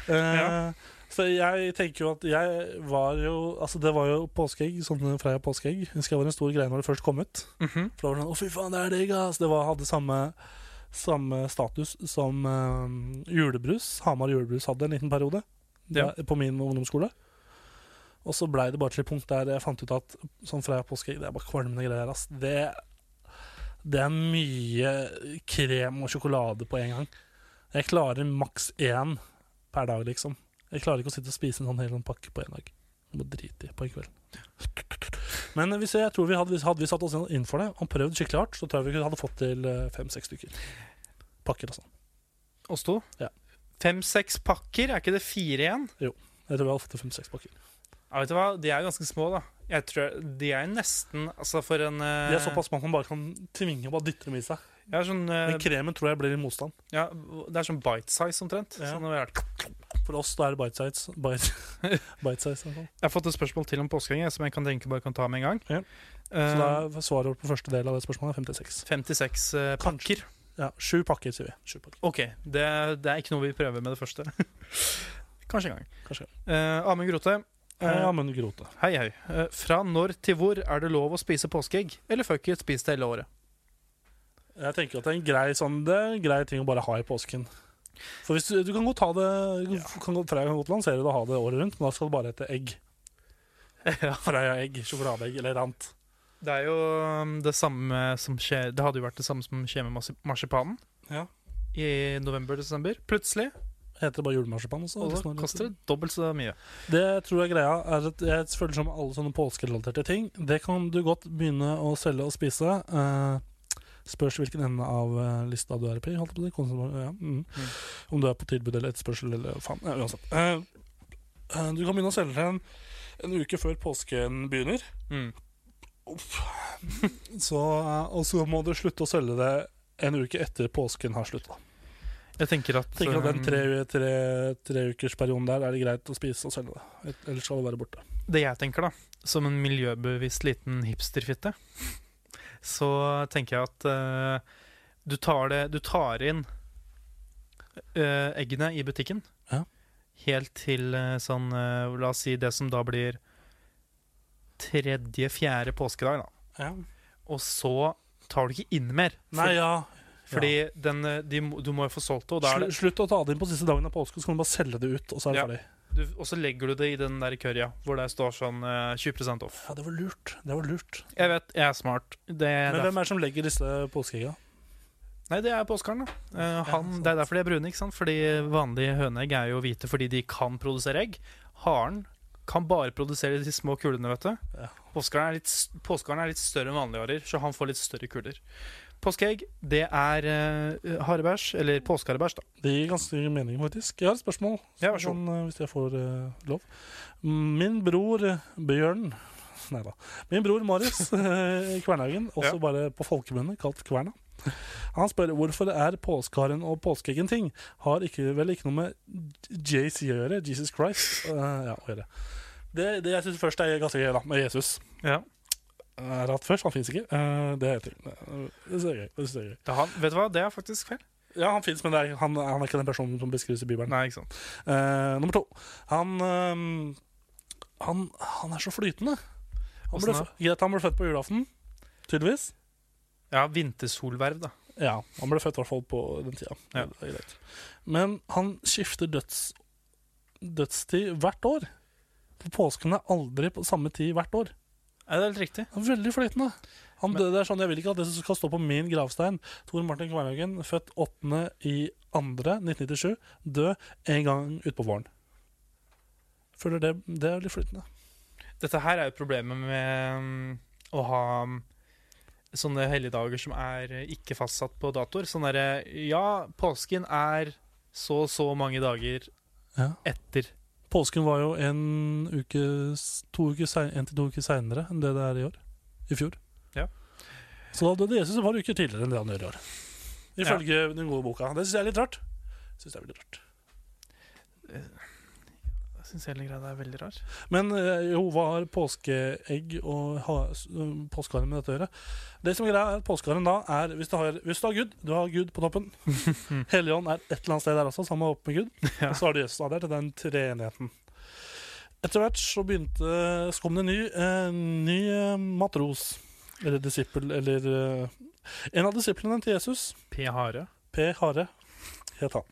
A: Eh,
B: Ja.
A: Så jeg tenker jo at jeg var jo Altså, det var jo påskeegg, sånne Freia påskeegg. Husker jeg var en stor greie når det først kom ut.
B: Mhm.
A: For det var sånn Å, fy faen, det er digg, ass! Det var, hadde samme, samme status som eh, julebrus. Hamar julebrus hadde en liten periode
B: Ja.
A: da- på min ungdomsskole. Og så blei det bare til et punkt der jeg fant ut at sånn Freia påskeegg, det er bare kvalmende greier, ass. Det, det er mye krem og sjokolade på en gang. Jeg klarer maks én per dag, liksom. Jeg klarer ikke å sitte og spise en sånn hel sånn pakke på en dag. Jeg må drite i på en kveld. Men hvis jeg, jeg tror vi hadde, hvis- hadde vi satt oss inn for det og prøvd skikkelig hardt, så tror jeg vi kunne- hadde fått til eh, fem-seks stykker. Pakker, altså.
B: Oss to?
A: Ja.
B: Fem-seks pakker, er ikke det fire igjen?
A: Jeg tror vi hadde fått til fem-seks pakker.
B: Ja, vet du hva, De er jo ganske små, da. Jeg tror, De er nesten altså for en eh,
A: De er såpass små at man bare kan tvinge og bare dytte dem i seg.
B: ja, sånn, eh,
A: Men kremen tror jeg blir i motstand.
B: ja, Det er sånn bite size omtrent.
A: Ja.
B: Sånn, jeg
A: For oss da er det bite size.
B: [LAUGHS]
A: Bite, bite size i hvert fall.
B: har fått et spørsmål til om påskeegg som jeg kan tenke bare kan ta med en gang. Eh,
A: Ja. så da er svaret vårt på første del av det spørsmålet er fem til seks.
B: 56 eh,
A: Kanskje.
B: pakker.
A: Ja, sju pakker, sier vi. Sju pakker.
B: Ok, det, det er ikke noe vi prøver med det første. [LAUGHS] Kanskje en gang.
A: Kanskje.
B: Eh, Amund Grote. eh,
A: Ja, men grote.
B: hei, hei. Eh, fra når til hvor er det lov å spise påskeegg? Eller fuck it, spis det hele året.
A: Jeg tenker at det er en grei, sånn, det er en grei ting å bare ha i påsken. For hvis du, du kan godt ha det du kan, godt- Freia kan godt lansere det og ha det året rundt, men da skal det bare hete
B: [LAUGHS]
A: egg. Freia-egg, sjokoladeegg eller rant.
B: Det er jo um, det samme som skjer Det hadde jo vært det samme som skjer med marsi- marsipanen.
A: Ja.
B: I november-desember. Plutselig
A: Heter det bare julemarsipan? også?
B: og
A: Liksom,
B: da
A: eller-
B: koster det dobbelt så mye.
A: Det jeg tror jeg er greia, er at jeg føler som alle sånne påskerelaterte ting. Det kan du godt begynne å selge og spise. Eh, spørs hvilken ende av eh, lista du er på. Holdt jeg på å si. Konsum- ja. mm.
B: Mm.
A: Om du er på tilbud eller etterspørsel eller faen. Ja, uansett. Eh, eh, du kan begynne å selge den en uke før påsken begynner.
B: Mm.
A: Så, eh, og så må du slutte å selge det en uke etter påsken har slutta.
B: Jeg tenker at,
A: Tenker at den
B: um,
A: tre, tre, tre ukers perioden der er det greit å spise og selge det. Ellers skal det være borte.
B: det jeg tenker, da, som en miljøbevisst liten hipsterfitte, så tenker jeg at eh, du, tar det, du tar inn eh, eggene i butikken
A: Ja.
B: helt til eh, sånn eh, La oss si det som da blir tredje-fjerde påskedag, da. Og så tar du ikke inn mer.
A: Nei, ja,
B: For, fordi den, eh, de, må- du må jo få solgt det, og da er
A: Slu,
B: det
A: slutt å ta det inn på siste dagen av påske, så kan du bare selge det ut. Og så er det
B: Ja.
A: ferdig.
B: du, Og så legger du det i den der currya hvor det står sånn eh, 20 off.
A: Ja, det var lurt. Det var lurt.
B: Jeg vet, jeg er smart. Det er
A: Men
B: derfor-
A: hvem er det som legger disse påskeegga?
B: Nei, det er påskeharen, da. Eh, han,
A: sant.
B: det er derfor de er brune. ikke sant? Fordi vanlige høneegg er jo hvite fordi de kan produsere egg. Haren kan bare produsere de små kulene, vet du.
A: Ja.
B: Påskeharen er, litt s- påskeharen er litt større enn vanlige harer, så han får litt større kuler. Påskeegg, det er eh, harebæsj, eller påskeharebæsj, da.
A: Det gir ganske mening, faktisk. Jeg har et spørsmål,
B: Ja, vær så god.
A: sånn, eh, hvis jeg får eh, lov. Min bror eh, Bjørn [LAUGHS] Nei da. Min bror Marius [LAUGHS] eh, i Kvernhaugen, også
B: Ja.
A: bare på folkemunne kalt Kverna. Han spør hvorfor er påskeharen og påskeeggen ting? Har ikke, vel ikke noe med JC å gjøre? Jesus Christ? eh, ja, å gjøre. Det, det jeg syns først er ganske gøy, da, med Jesus.
B: Ja.
A: er at først, han finnes ikke. Eh, det er ting. Eh, Det synes jeg er gøy. Det synes jeg er gøy.
B: Det er han, vet du hva, det er faktisk feil.
A: Ja, han finnes, men det er, han, han er ikke den personen som beskrives i Bibelen.
B: Nei, ikke sant.
A: Eh, nummer to. Han, ehm, han, han er så flytende. Han ble,
B: Åssen da?
A: fø- greit, han ble født på julaften, tydeligvis.
B: Ja, vintersolverv, da.
A: Ja, han ble født i hvert fall på den tida.
B: Ja.
A: Det er greit. Men han skifter døds dødstid hvert år. For påsken er aldri på samme tid hvert år.
B: Er det helt riktig?
A: Det er Veldig flytende. Han
B: Men-
A: døde der sånn, Jeg vil ikke at det skal stå på min gravstein. Tor Martin Kverhaugen, født 8. i 2. 1997, død en gang utpå våren. Føler det, det er litt flytende.
B: Dette her er jo problemet med mm, å ha mm, sånne helligdager som er eh, ikke fastsatt på datoer. Sånn derre Ja, påsken er så og så mange dager
A: Ja.
B: etter.
A: Påsken var jo en uke, s- to uker, sein- en til to uker seinere enn det det er i år. I fjor.
B: Ja.
A: Så da døde Jesus et par uker tidligere enn det han gjør i år. Ifølge den gode boka. Det syns jeg er litt rart. Synes det er veldig rart.
B: Jeg syns hele greia er veldig rar.
A: Men eh, jo, hva har påskeegg og ha- s- øh, påskeharen med dette å gjøre? Det som er greia er at Påskeharen da er hvis du, har, hvis du har Gud, du har Gud på toppen. Helligånd er et eller annet sted der også, sammen med opp med Gud.
B: Ja.
A: Og så har du Jesus da der, til den treenigheten. Etter hvert så begynte så kom det en ny, eh, ny eh, matros, eller disippel, eller eh, En av disiplene til Jesus
B: P. Hare.
A: P. Hare het han.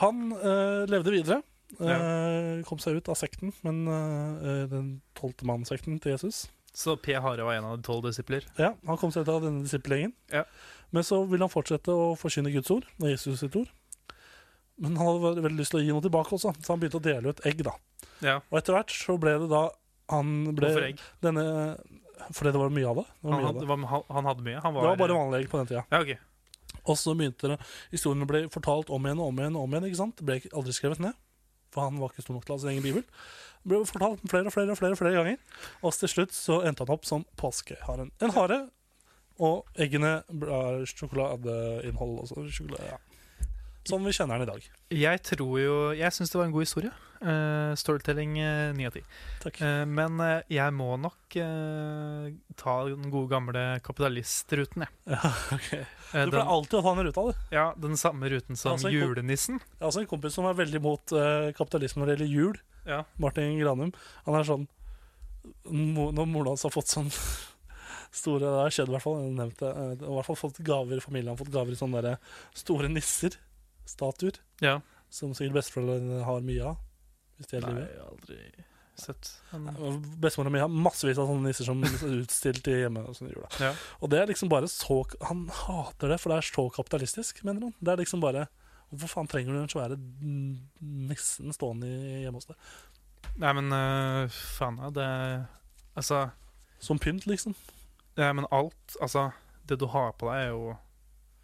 A: Han eh, levde videre. eh, kom seg ut av sekten, men eh, den tolvte mannssekten til Jesus.
B: Så P. Hare var en av de tolv disipler.
A: Ja, Han kom seg ut av denne disippelgjengen.
B: Ja.
A: Men så ville han fortsette å forkynne Guds ord og Jesus sitt ord. Men han hadde veldig- veldig lyst til å gi noe tilbake også, så han begynte å dele ut egg. da
B: Ja.
A: Og etter hvert så ble det da han ble
B: Hvorfor egg?
A: Denne, fordi det var mye av det. det, var
B: Han,
A: mye av
B: hadde-
A: det.
B: var- han, han hadde mye. Han var,
A: det var bare vanlige egg på den tida.
B: Ja, ok.
A: Og så begynte det, historien å bli fortalt om igjen og om igjen. og om igjen, ikke sant? Det ble ikke- aldri skrevet ned, for han var ikke stor nok til å ha sin egen bibel. Det ble fortalt flere og flere og flere, og flere ganger, og til slutt så endte han opp som påskeharen. En hare, og eggene har sjokoladeinnhold. Også, sjokolade, ja. Som vi kjenner den i dag.
B: Jeg tror jo Jeg syns det var en god historie. Eh, storytelling eh, ni av ti.
A: Takk.
B: Eh, men eh, jeg må nok eh, ta den gode gamle kapitalistruten, jeg.
A: [LAUGHS] Ja, ok.
B: Eh,
A: Du pleier
B: den,
A: alltid å ta den ruta, du.
B: ja, den samme ruten som
A: Altså, en ko-
B: julenissen.
A: Jeg har også en kompis som er veldig mot eh, kapitalisme når det gjelder jul.
B: Ja.
A: Martin Granum. Han er sånn mo- Når moren hans har fått sånn [LAUGHS] store Det har skjedd, i hvert fall. Jeg nevnte eh, det. har I hvert fall fått gaver familien har fått gaver i sånne der eh, store nisser. Statuer.
B: Ja.
A: Som sikkert besteforeldrene har mye av. Hvis de er i
B: Nei,
A: live.
B: jeg har aldri sett den.
A: Bestemora mi har massevis av sånne nisser som liksom er utstilt i hjemme. Og, sånn i jula.
B: Ja.
A: og det er liksom bare så Han hater det, for det er så kapitalistisk, mener han. Det er liksom bare Hvorfor faen trenger du den svære nissen stående i- hjemme hos deg?
B: Nei, men eh, faen, ja, det Altså,
A: Som pynt, liksom.
B: ja, men alt Altså, det du har på deg, er jo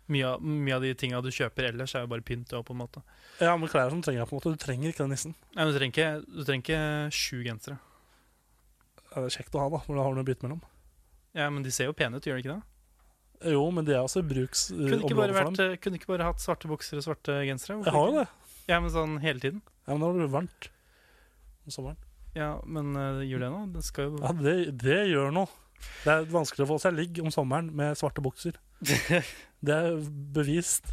B: mye av, mye av de tinga du kjøper ellers, er jo bare pynt. ja, på en måte.
A: Ja, men klær som trenger jeg, på en måte. Du trenger ikke den nissen.
B: Nei, men Du trenger ikke, du trenger ikke sju gensere.
A: Ja, det er kjekt å ha, da, men da har du noe å bytte mellom.
B: Ja, Men de ser jo pene ut, gjør de ikke det?
A: Jo, men det er også
B: Kunne ikke,
A: bruksområdet
B: bare
A: Mm, for
B: vært,
A: dem.
B: eh, kunne ikke bare hatt svarte bukser og svarte gensere?
A: Jeg har jo det.
B: Ja, men sånn hele tiden.
A: Ja, men da blir det varmt om sommeren.
B: Ja, men uh, Juliana, den skal jo
A: Ja, det, det gjør noe. Det er vanskelig å få seg ligg om sommeren med svarte bukser. Det er bevist.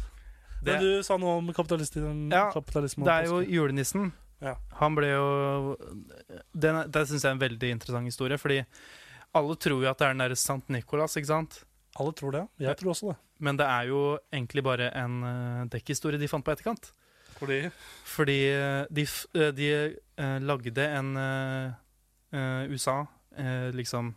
B: det,
A: Men du sa noe om kapitalismen.
B: Ja,
A: kapitalisme og
B: det er jo
A: påske.
B: julenissen.
A: Ja.
B: Han ble jo Den, er- det syns jeg er en veldig interessant historie, fordi alle tror jo at det er den derre Sankt Nikolas, ikke sant?
A: Alle tror det. Jeg
B: Ja.
A: tror også det.
B: Men det er jo egentlig bare en eh, dekkhistorie de fant på etterkant.
A: Fordi
B: Fordi eh, de, f- eh, de eh, lagde en eh, eh, USA eh, liksom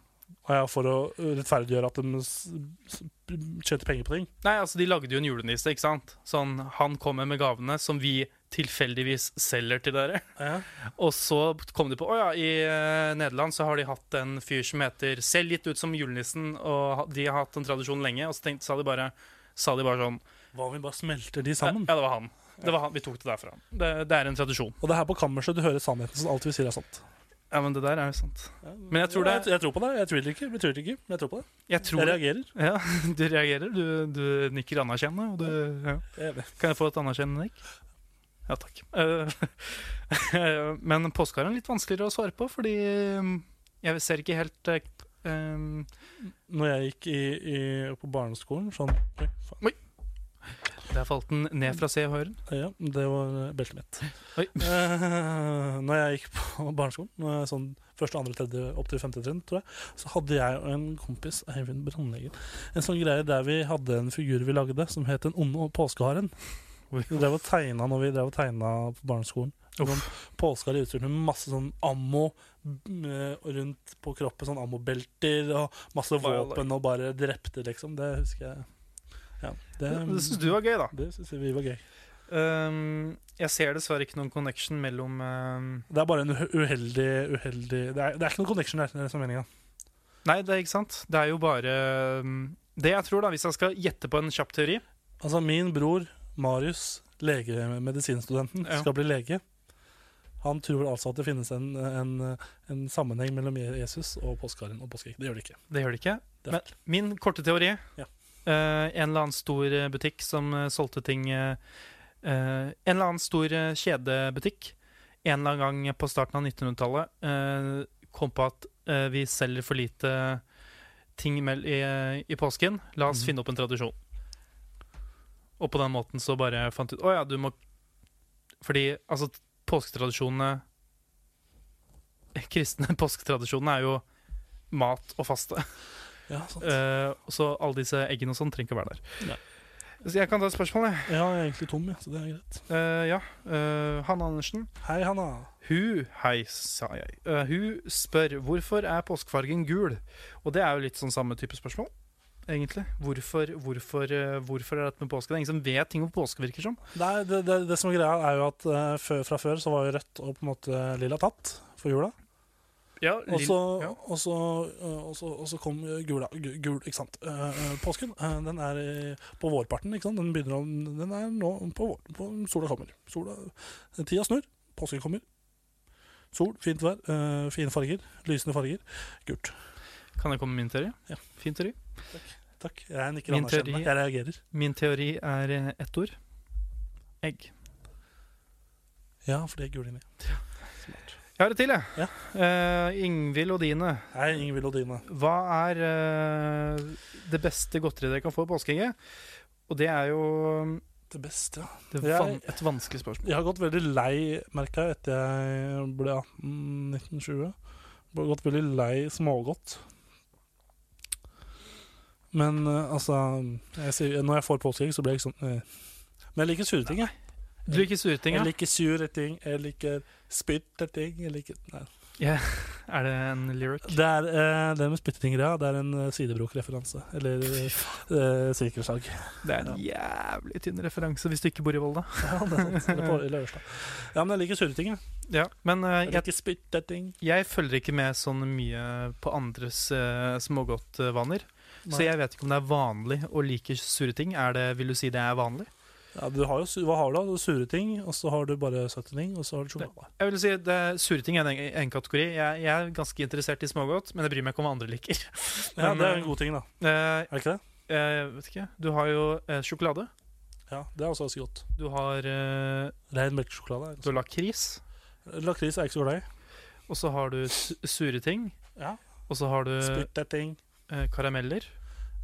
A: Og ja, For å rettferdiggjøre at de s- s- tjente penger på ting.
B: Nei, altså De lagde jo en julenisse. ikke sant? Sånn, Han kommer med gavene som vi tilfeldigvis selger til dere.
A: Ja.
B: Og så kom de på å ja, i eh, Nederland så har de hatt en fyr som heter Ser litt ut som julenissen, og ha- de har hatt en tradisjon lenge. Og så tenkte, sa, de bare, sa de bare sånn
A: Hva om vi bare smelter de
B: Ja,
A: sammen?
B: det var han. Det var han. Vi tok det derfra. Det, det er en tradisjon.
A: Og det er her på kammerset du hører sannheten, så alt vi sier er sant.
B: Ja, men det der er jo sant. Men jeg tror
A: Ja,
B: det
A: jeg, jeg tror på det. Jeg tviler ikke. Jeg tviler ikke. men Jeg tror på det.
B: Jeg
A: Jeg
B: tror
A: reagerer.
B: Ja, [LAUGHS] du reagerer. Du, du nikker anerkjennende, og du ja.
A: Jeg er enig.
B: Kan jeg få et anerkjennende nikk? Ja, takk. Eh, [LAUGHS] Men påskeharen er litt vanskeligere å svare på, fordi mm, jeg ser ikke helt eh, eh,
A: Når jeg gikk i, i, på barneskolen sånn, Oi, faen.
B: Der falt den ned fra Se og Høren.
A: Ja, Det var eh, beltet mitt.
B: Oi.
A: [LAUGHS] Eh, når jeg gikk på [LAUGHS] barneskolen, når jeg, sånn første, andre, tredje, opp til femte trinn, tror jeg, så hadde jeg og en kompis, Eivind Brandeggen, en sånn greie der vi hadde en figur vi lagde som het Den onde påskeharen. Vi drev og tegna når vi drev og tegna på barneskolen. Sånn Noen påskeharde utstyr med masse sånn ammo mm, eh, rundt på kroppen. Sånn ammobelter og masse
B: Violent.
A: våpen og bare drepte, liksom. Det husker jeg. Ja, det,
B: Ja, Det syns du var gøy, da.
A: det syns vi var gøy.
B: Ehm, jeg ser dessverre ikke noen connection mellom ehm,
A: Det er bare en uhe- uheldig, uheldig Det er, det er ikke noen connection der, det er det som er meninga.
B: Nei, det er ikke sant. Det er jo bare ehm, Det jeg tror, da, hvis jeg skal gjette på en kjapp teori
A: Altså, min bror Marius, legemedisinstudenten,
B: Ja.
A: skal bli lege. Han tror altså at det finnes en, en, en sammenheng mellom Jesus og påskeharen og påskeegg. Det gjør det ikke.
B: Det gjør det ikke.
A: Det er
B: Men min korte teori
A: Ja.
B: eh, En eller annen stor eh, butikk som eh, solgte ting eh, eh, En eller annen stor eh, kjedebutikk en eller annen gang på starten av 1900-tallet eh, kom på at eh, vi selger for lite ting mell i, i påsken. La oss
A: Mhm.
B: finne opp en tradisjon. Og på den måten så bare fant ut Å ja, du må Fordi altså påsketradisjonene [LAUGHS] Kristne påsketradisjonene er jo mat og faste.
A: Ja, sant.
B: Eh, så alle disse eggene og sånn trenger ikke å være der.
A: Nei.
B: Så jeg kan ta et spørsmål, jeg.
A: Jeg er egentlig tom, ja, så det er greit.
B: Eh, ja. eh, Hanne Andersen.
A: Hei, Hanna.
B: Hun, hei, sa jeg. Eh, hun spør hvorfor er påskefargen gul? Og det er jo litt sånn samme type spørsmål, egentlig. Hvorfor, hvorfor, eh, hvorfor er dette med påske? Det er ingen som vet ting om påske, virker som.
A: Nei, det, det, det som er greia, er jo at eh, før, fra før så var jo rødt og på en måte lilla tatt for jula.
B: Ja,
A: Og så,
B: ja.
A: og så, eh, og så, og så kom eh, gula, gu- gul, ikke sant. Eh, eh, påsken, eh, den er i- på vårparten, ikke sant. Den begynner om, den er nå på vår, på sola kommer. Sola, tida snur, påsken kommer. Sol, fint vær, eh, fine farger, lysende farger. Gult.
B: Kan jeg komme med min teori?
A: Ja.
B: Fin teori.
A: Takk. Jeg nikker
B: Min teori-
A: anerkjennende. Jeg reagerer.
B: Min teori er eh, ett ord. Egg.
A: Ja, for det er gul inni. Smart.
B: Jeg har et til, jeg.
A: Ja.
B: Eh, Ingvild Odine.
A: Hei, Ingvild og Dine.
B: Hva er eh, det beste godteriet dere kan få i påskeegget? Og det er jo
A: Det beste, ja.
B: det
A: Jeg-
B: van et vanskelig spørsmål.
A: Jeg har gått veldig lei, merka jeg, etter jeg ble 18, 1920. Jeg har gått veldig lei smågodt. Men eh, altså jeg sier, Når jeg får påskeegg, så blir jeg ikke sånn eh. Men jeg liker sure ting, jeg.
B: Du liker sure ting, ja?
A: Jeg liker sure ting, jeg liker spytteting Jeg liker Nei.
B: [LAUGHS] Er det en lyric?
A: Det er eh, det med spytteting-greia. Det er en eh, sidebrokereferanse. Eller eh, sirkelslag.
B: Det er en jævlig tynn referanse hvis du ikke bor i Volda.
A: [LAUGHS] Ja, det er sant. Det er på, eller Ørsta. ja, men jeg liker sure ting, jeg.
B: Ja, Men eh,
A: Jeg
B: jeg,
A: liker spytteting.
B: jeg følger ikke med sånn mye på andres eh, smågodtvaner. Så jeg vet ikke om det er vanlig å like sure ting. Er det, vil du si det er vanlig?
A: Ja, du har jo, su- hva har du da? Du har Sure ting, og så har du bare søte ting, og så har du sjokolade.
B: Jeg vil si det, Sure ting er en, en kategori. Jeg, jeg er ganske interessert i smågodt, men jeg bryr meg ikke om hva andre liker. [LAUGHS]
A: Ja,
B: Men,
A: det er en god ting, da.
B: eh,
A: Er det ikke det?
B: Eh, Jeg vet ikke. Du har jo eh, sjokolade.
A: Ja, det er også ganske godt.
B: Du har, eh,
A: Rein melkesjokolade. er ganske-
B: du har lakris.
A: Lakris er jeg ikke så glad i.
B: Og så har du su sure ting.
A: Ja.
B: Og så har du
A: Spytteting.
B: eh, karameller.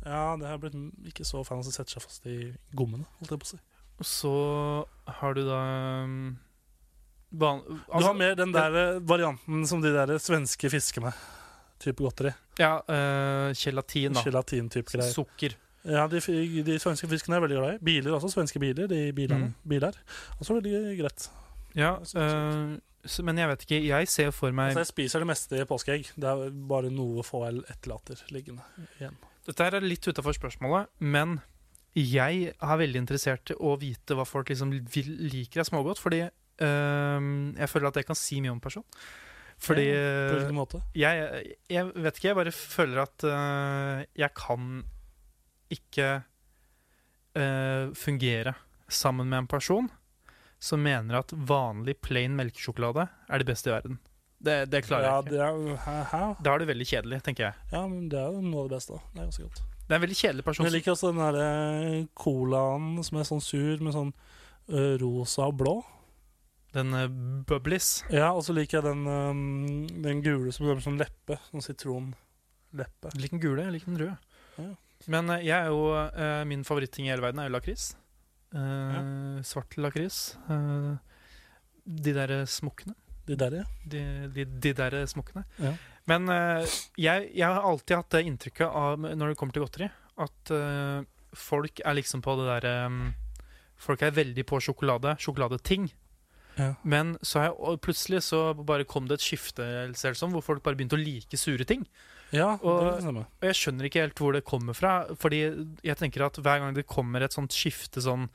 A: Ja, det har blitt m- ikke så fan som setter seg fast i gommene, holdt jeg på å si.
B: Og så har du da um, van
A: Du
B: altså-
A: har mer den der eh, varianten som de der svenske fiskene. Type godteri.
B: Ja, eh, gelatin, da.
A: Gelatin-type greier.
B: Sukker.
A: Ja, de, fi- de svenske fiskene er jeg veldig glad i. Biler også. Svenske biler. De bilene.
B: Mm.
A: Biler. Også veldig greit.
B: Ja,
A: Det er
B: eh, så, men jeg vet ikke. Jeg ser for meg
A: Altså, jeg spiser det meste i påskeegg. Det er bare noe få jeg etterlater liggende igjen.
B: Dette her er litt utafor spørsmålet, men jeg er veldig interessert i å vite hva folk liksom vil, liker av smågodt. Fordi øhm, jeg føler at jeg kan si mye om en person. Fordi
A: På
B: øh,
A: hvilken måte?
B: jeg, jeg vet ikke, jeg bare føler at øh, jeg kan ikke øh, fungere sammen med en person som mener at vanlig plain melkesjokolade er det beste i verden. Det, det klarer
A: ja,
B: jeg ikke.
A: det er, hæ, hæ?
B: Da er det veldig kjedelig, tenker jeg.
A: ja, men det er jo noe av det beste. da. Det er ganske godt.
B: Det er en veldig kjedelig person.
A: Men jeg liker også den der eh, colaen som er sånn sur med sånn eh, rosa og blå.
B: som- Den øh, bubblies.
A: Ja, og så liker jeg den, eh, den gule som er sånn leppe. Sånn sitronleppe.
B: Jeg liker den gule, jeg liker den røde.
A: Ja.
B: Men eh, jeg er jo, eh, min favoritting i hele verden er jo lakris. Eh, Svart lakris. Eh, de der smokkene.
A: De der, ja.
B: De, de, de der smokkene.
A: Ja.
B: Men eh, jeg, jeg har alltid hatt det inntrykket av, når det kommer til godteri, at eh, folk er liksom på det derre Folk er veldig på sjokolade, sjokoladeting.
A: Ja.
B: Men så har jeg, og plutselig så bare kom det et skifte ser det som, hvor folk bare begynte å like sure ting.
A: Ja, det
B: Og-
A: kan stemme.
B: Og jeg skjønner ikke helt hvor det kommer fra, fordi jeg tenker at hver gang det kommer et sånt skifte sånn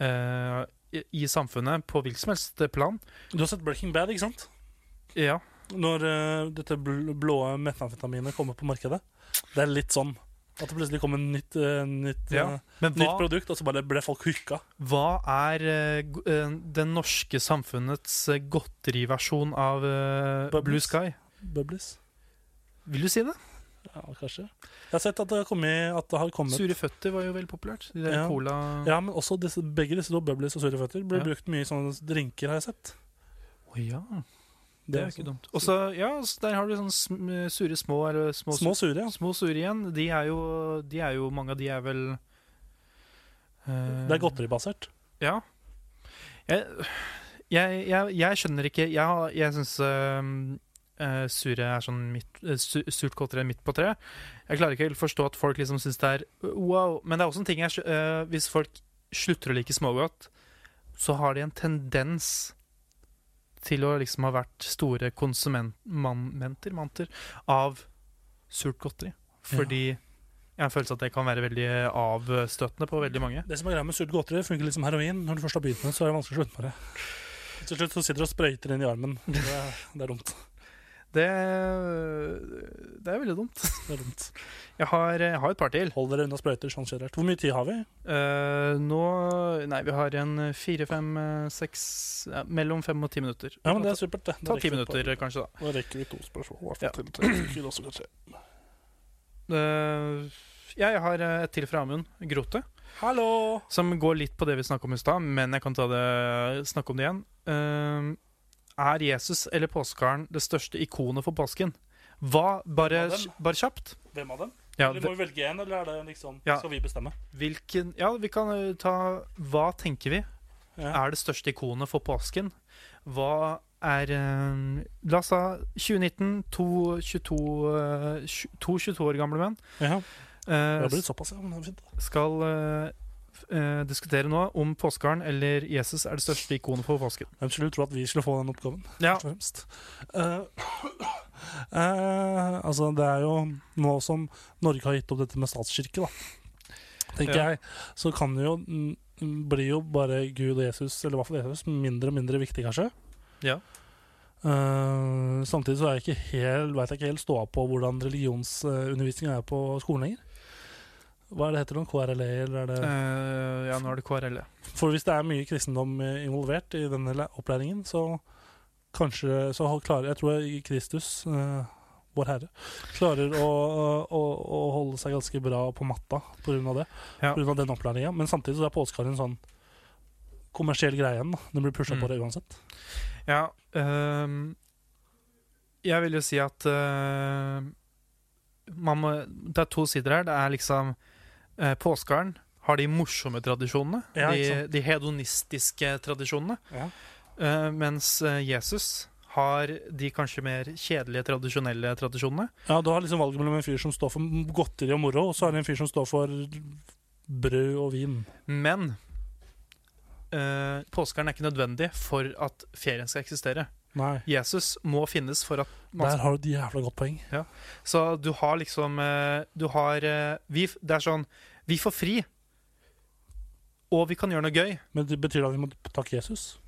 B: eh, i, i samfunnet, på hvilket som helst plan
A: Du har sett Breaking Bad, ikke sant?
B: Ja,
A: Når eh, dette bl blå metamfetaminet kommer på markedet. Det er litt sånn at det plutselig kommer nytt, eh, nytt,
B: Ja.
A: eh,
B: men
A: nytt
B: hva,
A: produkt, og så bare ble folk hooka.
B: hva er eh, go- eh, det norske samfunnets eh, godteriversjon av eh,
A: Bubbles?
B: Blue Sky?
A: Bubbles.
B: Vil du si det?
A: Ja, kanskje. Jeg har sett at det har kommet, at det har kommet
B: Sure føtter var jo veldig populært. De der
A: Ja.
B: cola
A: Ja, men også disse, begge disse to, Bubbles og Sure Føtter, ble
B: Ja.
A: brukt mye i sånne drinker, har jeg sett.
B: Å ja, det er jo
A: også.
B: ikke dumt. Og så, ja, så der har du sånne sm eh, sure små eller små,
A: Små sure, ja.
B: Små sure igjen, de er jo, de er jo Mange av de er vel eh,
A: Det er godteribasert.
B: Ja. Jeg, jeg, jeg, jeg skjønner ikke Jeg, har- jeg syns sure er sånn midt, eh, su, surt godteri er midt på treet. Jeg klarer ikke helt forstå at folk liksom syns det er øh, wow. Men det er også en ting jeg skj- eh, Hvis folk slutter å like smågodt, så har de en tendens til å liksom ha vært store konsumenter manter, av surt godteri. Fordi jeg har en følelse at det kan være veldig avstøtende på veldig mange.
A: Det som er greia med surt godteri, funker litt som heroin. Når du først har begynt med det, så er det vanskelig å slutte med det. Til slutt så sitter du og sprøyter inn i armen. Det er, det er dumt.
B: Det, det er veldig dumt.
A: Det er dumt.
B: Jeg har, jeg har et par til.
A: Hold dere unna sprøyter sånn generelt. Hvor mye tid har vi?
B: Eh, nå Nei, vi har igjen fire, fem, eh, seks ja, Mellom fem og ti minutter.
A: Ja, men det er supert, det. Da
B: Ta
A: rekker
B: ti
A: vi et
B: minutter,
A: par-
B: kanskje, da.
A: Da rekker vi to spørsmål. i hvert fall
B: Ja.
A: til og med. Det kunne også kanskje-
B: Eh, ja, jeg har eh, et til fra Amund. Grote.
A: Hallo!
B: Som går litt på det vi snakket om i stad, men jeg kan ta det, snakke om det igjen. Eh, er Jesus eller påskeharen det største ikonet for påsken? Hva? Bare,
A: Av dem?
B: bare kjapt.
A: Hvem av dem?
B: Ja,
A: eller må vi velge en, eller er det liksom
B: Ja.
A: Skal vi bestemme?
B: Hvilken Ja, vi kan eh, ta Hva tenker vi
A: Ja.
B: er det største ikonet for påsken? Hva er eh, La oss ta 2019. To 22, eh, tju- to 22 år gamle menn
A: ja. Det
B: eh,
A: har blitt såpass, ja. Men det er fint.
B: skal eh, f- eh, diskutere nå om påskeharen eller Jesus er det største ikonet for påsken.
A: Hvem skulle tro at vi skulle få den oppgaven?
B: Ja,
A: først og fremst. Eh, eh, altså, det er jo nå som Norge har gitt opp dette med statskirke, da, tenker
B: Ja.
A: jeg, så kan det jo mm, blir jo bare Gud og Jesus, eller i hvert fall Jesus, mindre og mindre viktig, kanskje.
B: Ja.
A: Eh, samtidig så er jeg ikke helt, vet jeg ikke helt ståa på hvordan religionsundervisningen er på skolen lenger. Hva er det heter det? KRLE? E, Eller er det
B: eh, ja nå er det KRL.
A: for hvis det er mye kristendom eh, involvert i denne le- opplæringen, så kanskje så har- klarer Jeg tror jeg Kristus, eh, vår Herre, klarer å, å, å holde seg ganske bra på matta pga. det.
B: Ja.
A: På grunn av den opplæringen. Men samtidig så er påskeharen en sånn kommersiell greie igjen. da. Den blir pusha
B: Mm.
A: på det uansett.
B: Ja, ehm, jeg vil jo si at eh, man må, Det er to sider her. Det er liksom uh, Påskeharen har de morsomme tradisjonene.
A: Ja, ikke
B: de,
A: sant.
B: de hedonistiske tradisjonene.
A: Ja.
B: Eh, mens eh, Jesus har de kanskje mer kjedelige, tradisjonelle tradisjonene.
A: Ja, Du har liksom valget mellom en fyr som står for godteri og moro, og så er det en fyr som står for brød og vin.
B: Men uh, påskeharen er ikke nødvendig for at ferien skal eksistere.
A: Nei.
B: Jesus må finnes for at man
A: Der har du et jævla godt poeng.
B: Så du har liksom eh, Du har eh, vi, f- Det er sånn Vi får fri, og vi kan gjøre noe gøy.
A: Men det betyr det at vi må takke Jesus?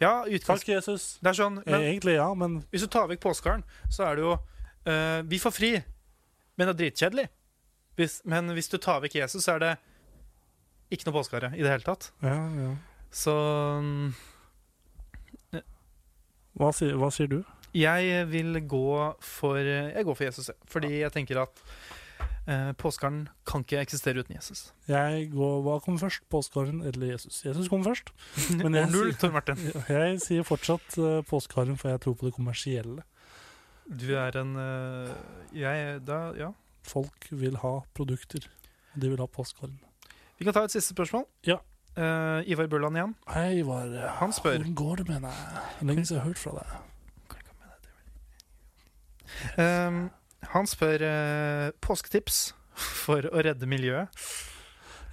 B: Ja, utgangs...
A: Takk, Eh. Jesus.
B: Det er sånn men
A: Egentlig ja, men
B: Hvis du tar vekk påskeharen, så er det jo eh, Vi får fri, men det er dritkjedelig. Hvis, men hvis du tar vekk Jesus, så er det ikke noe påskehare i det hele tatt.
A: Ja, ja.
B: Så mm,
A: Hva sier, hva sier du?
B: jeg vil gå for Jeg går for Jesus, jeg. Fordi jeg tenker at uh, påskeharen kan ikke eksistere uten Jesus.
A: Jeg går, hva kom først? Påskeharen eller Jesus? Jesus kom først. [LAUGHS] Men jeg
B: År null,
A: sier-
B: Tor Martin.
A: Jeg sier fortsatt uh, påskeharen, for jeg tror på det kommersielle.
B: Du er en øh, Jeg da, ja.
A: Folk vil ha produkter. De vil ha påskeharen.
B: Vi kan ta et siste spørsmål.
A: Ja.
B: Eh, Ivar Bøland igjen.
A: Hei, hva er det?
B: Han spør
A: Hvordan går det med deg? Lenge siden jeg har hørt fra deg.
B: Ehm, Han spør eh, påsketips for å redde miljøet.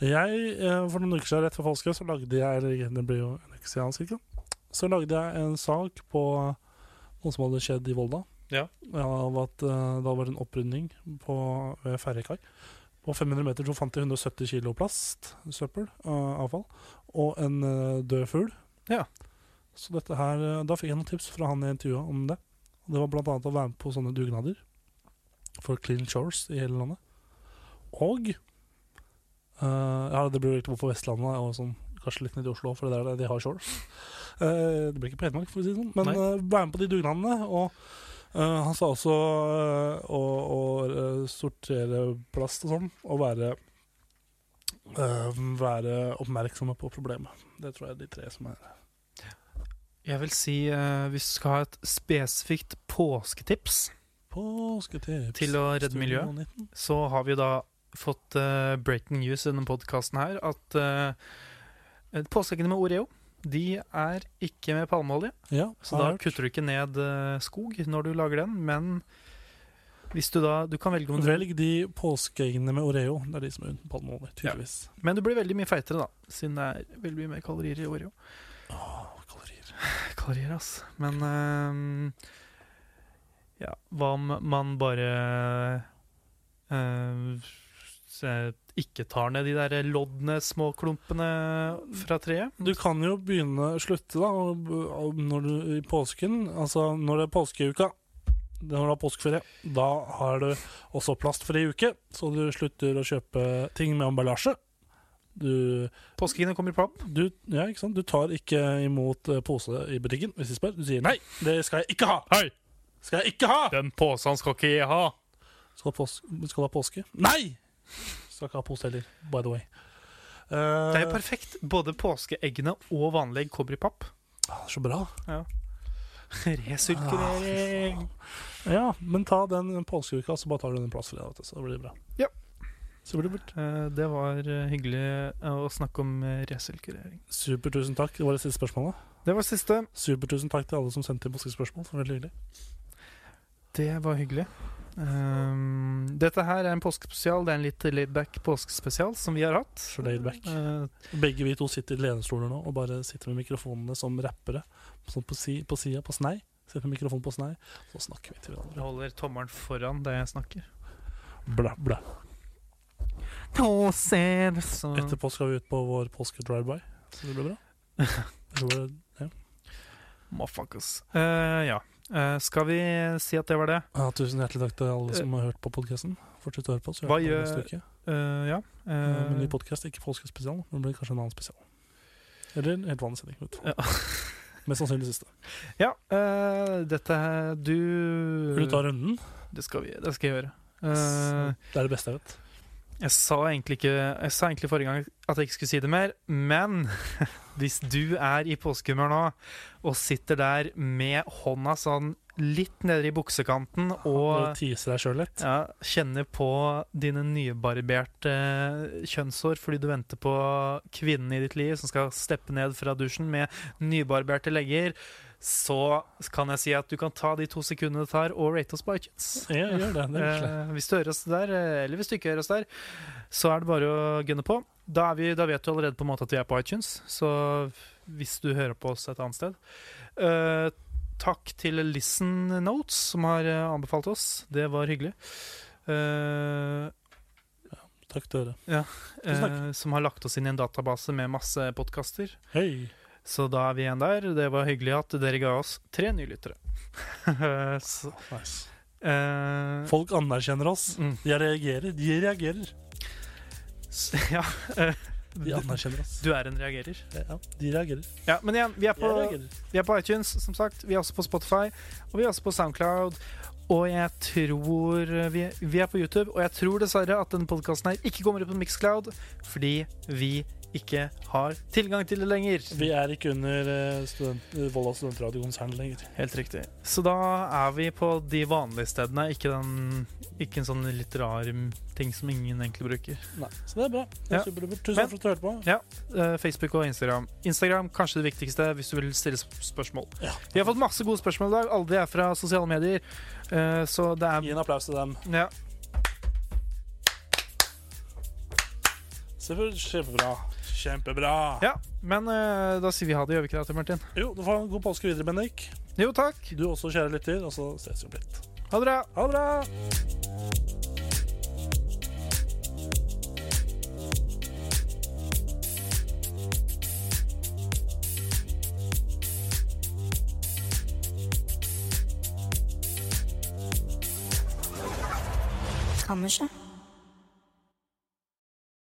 A: Jeg, eh, For noen uker siden, rett før påske, så lagde jeg eller det blir jo en uke siden, cirka. så lagde jeg en sak på noe som hadde skjedd i Volda.
B: Ja.
A: Av at eh, det hadde vært en opprydning på, ved ferjekai. På 500 meter så fant de 170 kilo plast, søppel, eh, avfall, og en eh, død fugl.
B: Ja.
A: Så dette her, eh, da fikk jeg noen tips fra han jeg intervjua om det. Og det var blant annet å være med på sånne dugnader for clean shores i hele landet. Og eh, ja, det blir jo egentlig på Vestlandet og sånn, kanskje litt nede i Oslo, for det er der de har shore. Eh, det blir ikke på Hedmark, for å si det sånn. Men
B: Nei.
A: eh, være med på de dugnadene. Og eh, han sa også eh, å, å eh, sortere plast og sånn, og være eh, være oppmerksomme på problemet. Det tror jeg er de tre som er
B: Jeg vil si eh, vi skal ha et spesifikt påsketips.
A: påsketips.
B: Til å redde miljøet.
A: Studio 19.
B: så har vi da fått eh, breaking news i denne podkasten her at eh, påskeeggene med Oreo de er ikke med palmeolje.
A: Ja,
B: Så da kutter du ikke ned eh, skog når du lager den, men hvis du da Du kan velge om du
A: Velg de påskeeggene med Oreo. Det er de som er uten palmeolje,
B: Ja.
A: tydeligvis.
B: Men du blir veldig mye feitere, da, siden det er veldig mye mer kalorier i Oreo. [LAUGHS]
A: Åh, kalorier.
B: Kalorier, ass. Men eh, Ja, hva om man bare eh, se- ikke tar ned de der loddene, små klumpene fra treet?
A: Du kan jo begynne slutte, da, og, og når du, i påsken. Altså, når det er påskeuka, det er når du har påskeferie, da har du også plastfri uke, så du slutter å kjøpe ting med emballasje. Du
B: Påskeeggene kommer i papp.
A: Du, ja, ikke sant? du tar ikke imot eh, pose i butikken hvis de spør. Du sier 'nei, det skal jeg ikke ha'.
B: Hei!
A: Skal jeg ikke ha!
B: Den posen skal ikke jeg ha!
A: Skal, pås skal du ha påske? Nei! Skal ikke ha pose heller, by the way. Eh,
B: Det er jo perfekt. Både påskeeggene og vanlige egg kommer i papp.
A: ah, Så bra.
B: Ah, Resirkulering.
A: Ah, Ja, men ta den påskeuka, så bare tar du den plastfrie, vet du, så blir det bra.
B: Ja.
A: Så blir det bra.
B: Eh, Det var eh, hyggelig eh, å snakke om eh, resirkulering.
A: Super, tusen takk. Det var det siste spørsmålet.
B: Det var siste.
A: Super, tusen takk til alle som sendte inn påskespørsmål. Det var Veldig hyggelig.
B: Det var hyggelig. Ehm, dette her er en påskespesial. Det er en litt laidback påskespesial som vi har hatt.
A: Så laid back.
B: Eh,
A: Begge vi to sitter i lenestoler nå og bare sitter med mikrofonene som rappere. Sånn på, si, på sida, på snei. Sitter med mikrofonen på snei, så snakker vi til hverandre.
B: jeg holder tommelen foran der jeg snakker.
A: Bla, bla.
B: Tåser, så
A: Etterpå skal vi ut på vår påske-drive-by, så det
B: [LAUGHS]
A: blir bra. Jeg tror det-
B: Motherfuckers. Eh, ja. Eh, skal vi si at det var det?
A: Ja, tusen hjertelig takk til alle som har hørt på podkasten. Fortsett å høre på. så
B: Hva
A: hører vi på
B: gjør-
A: neste uke.
B: Eh, ja.
A: Eh,
B: Eh,
A: men ny podkast, ikke påskespesial. Men det blir kanskje en annen spesial. Eller en helt vanlig sending. vet du.
B: Ja.
A: [LAUGHS] Mest sannsynlig siste.
B: ja eh, dette her- Du
A: Vil du ta runden?
B: Det skal, vi, det skal jeg gjøre. Eh,
A: det er det beste jeg vet.
B: Jeg sa egentlig ikke Jeg sa egentlig forrige gang at jeg ikke skulle si det mer, men [LAUGHS] hvis du er i påskehumør nå og sitter der med hånda sånn litt nede i buksekanten
A: Nå
B: og
A: teaser jeg sjøl litt.
B: ja, kjenner på dine nybarberte eh, kjønnshår fordi du venter på kvinnen i ditt liv som skal steppe ned fra dusjen med nybarberte legger, så kan jeg si at du kan ta de to sekundene det tar, og rate oss på iTunes.
A: Ja, gjør det. det er koselig.
B: Eh, hvis du hører oss der, eh, eller hvis du ikke hører oss der, så er det bare å gunne på. Da, er vi, da vet du allerede på en måte at vi er på iTunes, så hvis du hører på oss et annet sted. Eh, takk til Listen Notes, som har eh, anbefalt oss. Det var hyggelig. Eh,
A: Takk til dere. Tusen takk.
B: eh, som har lagt oss inn i en database med masse podkaster.
A: Hei!
B: Så da er vi igjen der. Det var hyggelig at dere ga oss tre nye lyttere. [LAUGHS] så,
A: Nice.
B: eh,
A: Folk anerkjenner oss.
B: mm,
A: De reagerer. De reagerer.
B: s- ja, eh,
A: De anerkjenner oss.
B: Du er en reagerer.
A: Ja, de reagerer.
B: Ja, men igjen, vi
A: Jeg
B: er, på,
A: reagerer.
B: vi er på iTunes, som sagt. Vi er også på Spotify, og vi er også på Soundcloud. Og jeg tror Vi, vi er på YouTube, og jeg tror dessverre at denne podkasten her ikke kommer ut på Mixcloud fordi vi ikke har tilgang til det lenger.
A: Vi er ikke under eh, student, eh, Volda studentradiokonsern lenger.
B: Helt riktig. Så da er vi på de vanlige stedene, ikke, den, ikke en sånn litt rar ting som ingen egentlig bruker.
A: Nei. Så det er bra. Det er
B: Ja.
A: superduper. Tusen takk for at du hørte på.
B: Eh, Facebook og Instagram. Instagram kanskje det viktigste hvis du vil stille sp- spørsmål.
A: Ja.
B: Vi har fått masse gode spørsmål i dag. Alle de er fra sosiale medier. Eh, så det er
A: Gi en applaus til dem.
B: ja.
A: Det var kjempebra. Kjempebra.
B: Ja, men eh, da sier vi ha det, gjør vi ikke det, Martin?
A: Jo, du får ha en god påske videre, Bendik.
B: Jo takk.
A: Du også, kjære lytter. Og så ses vi om litt.
B: Ha det bra.
A: Ha det bra!
D: Kammerset.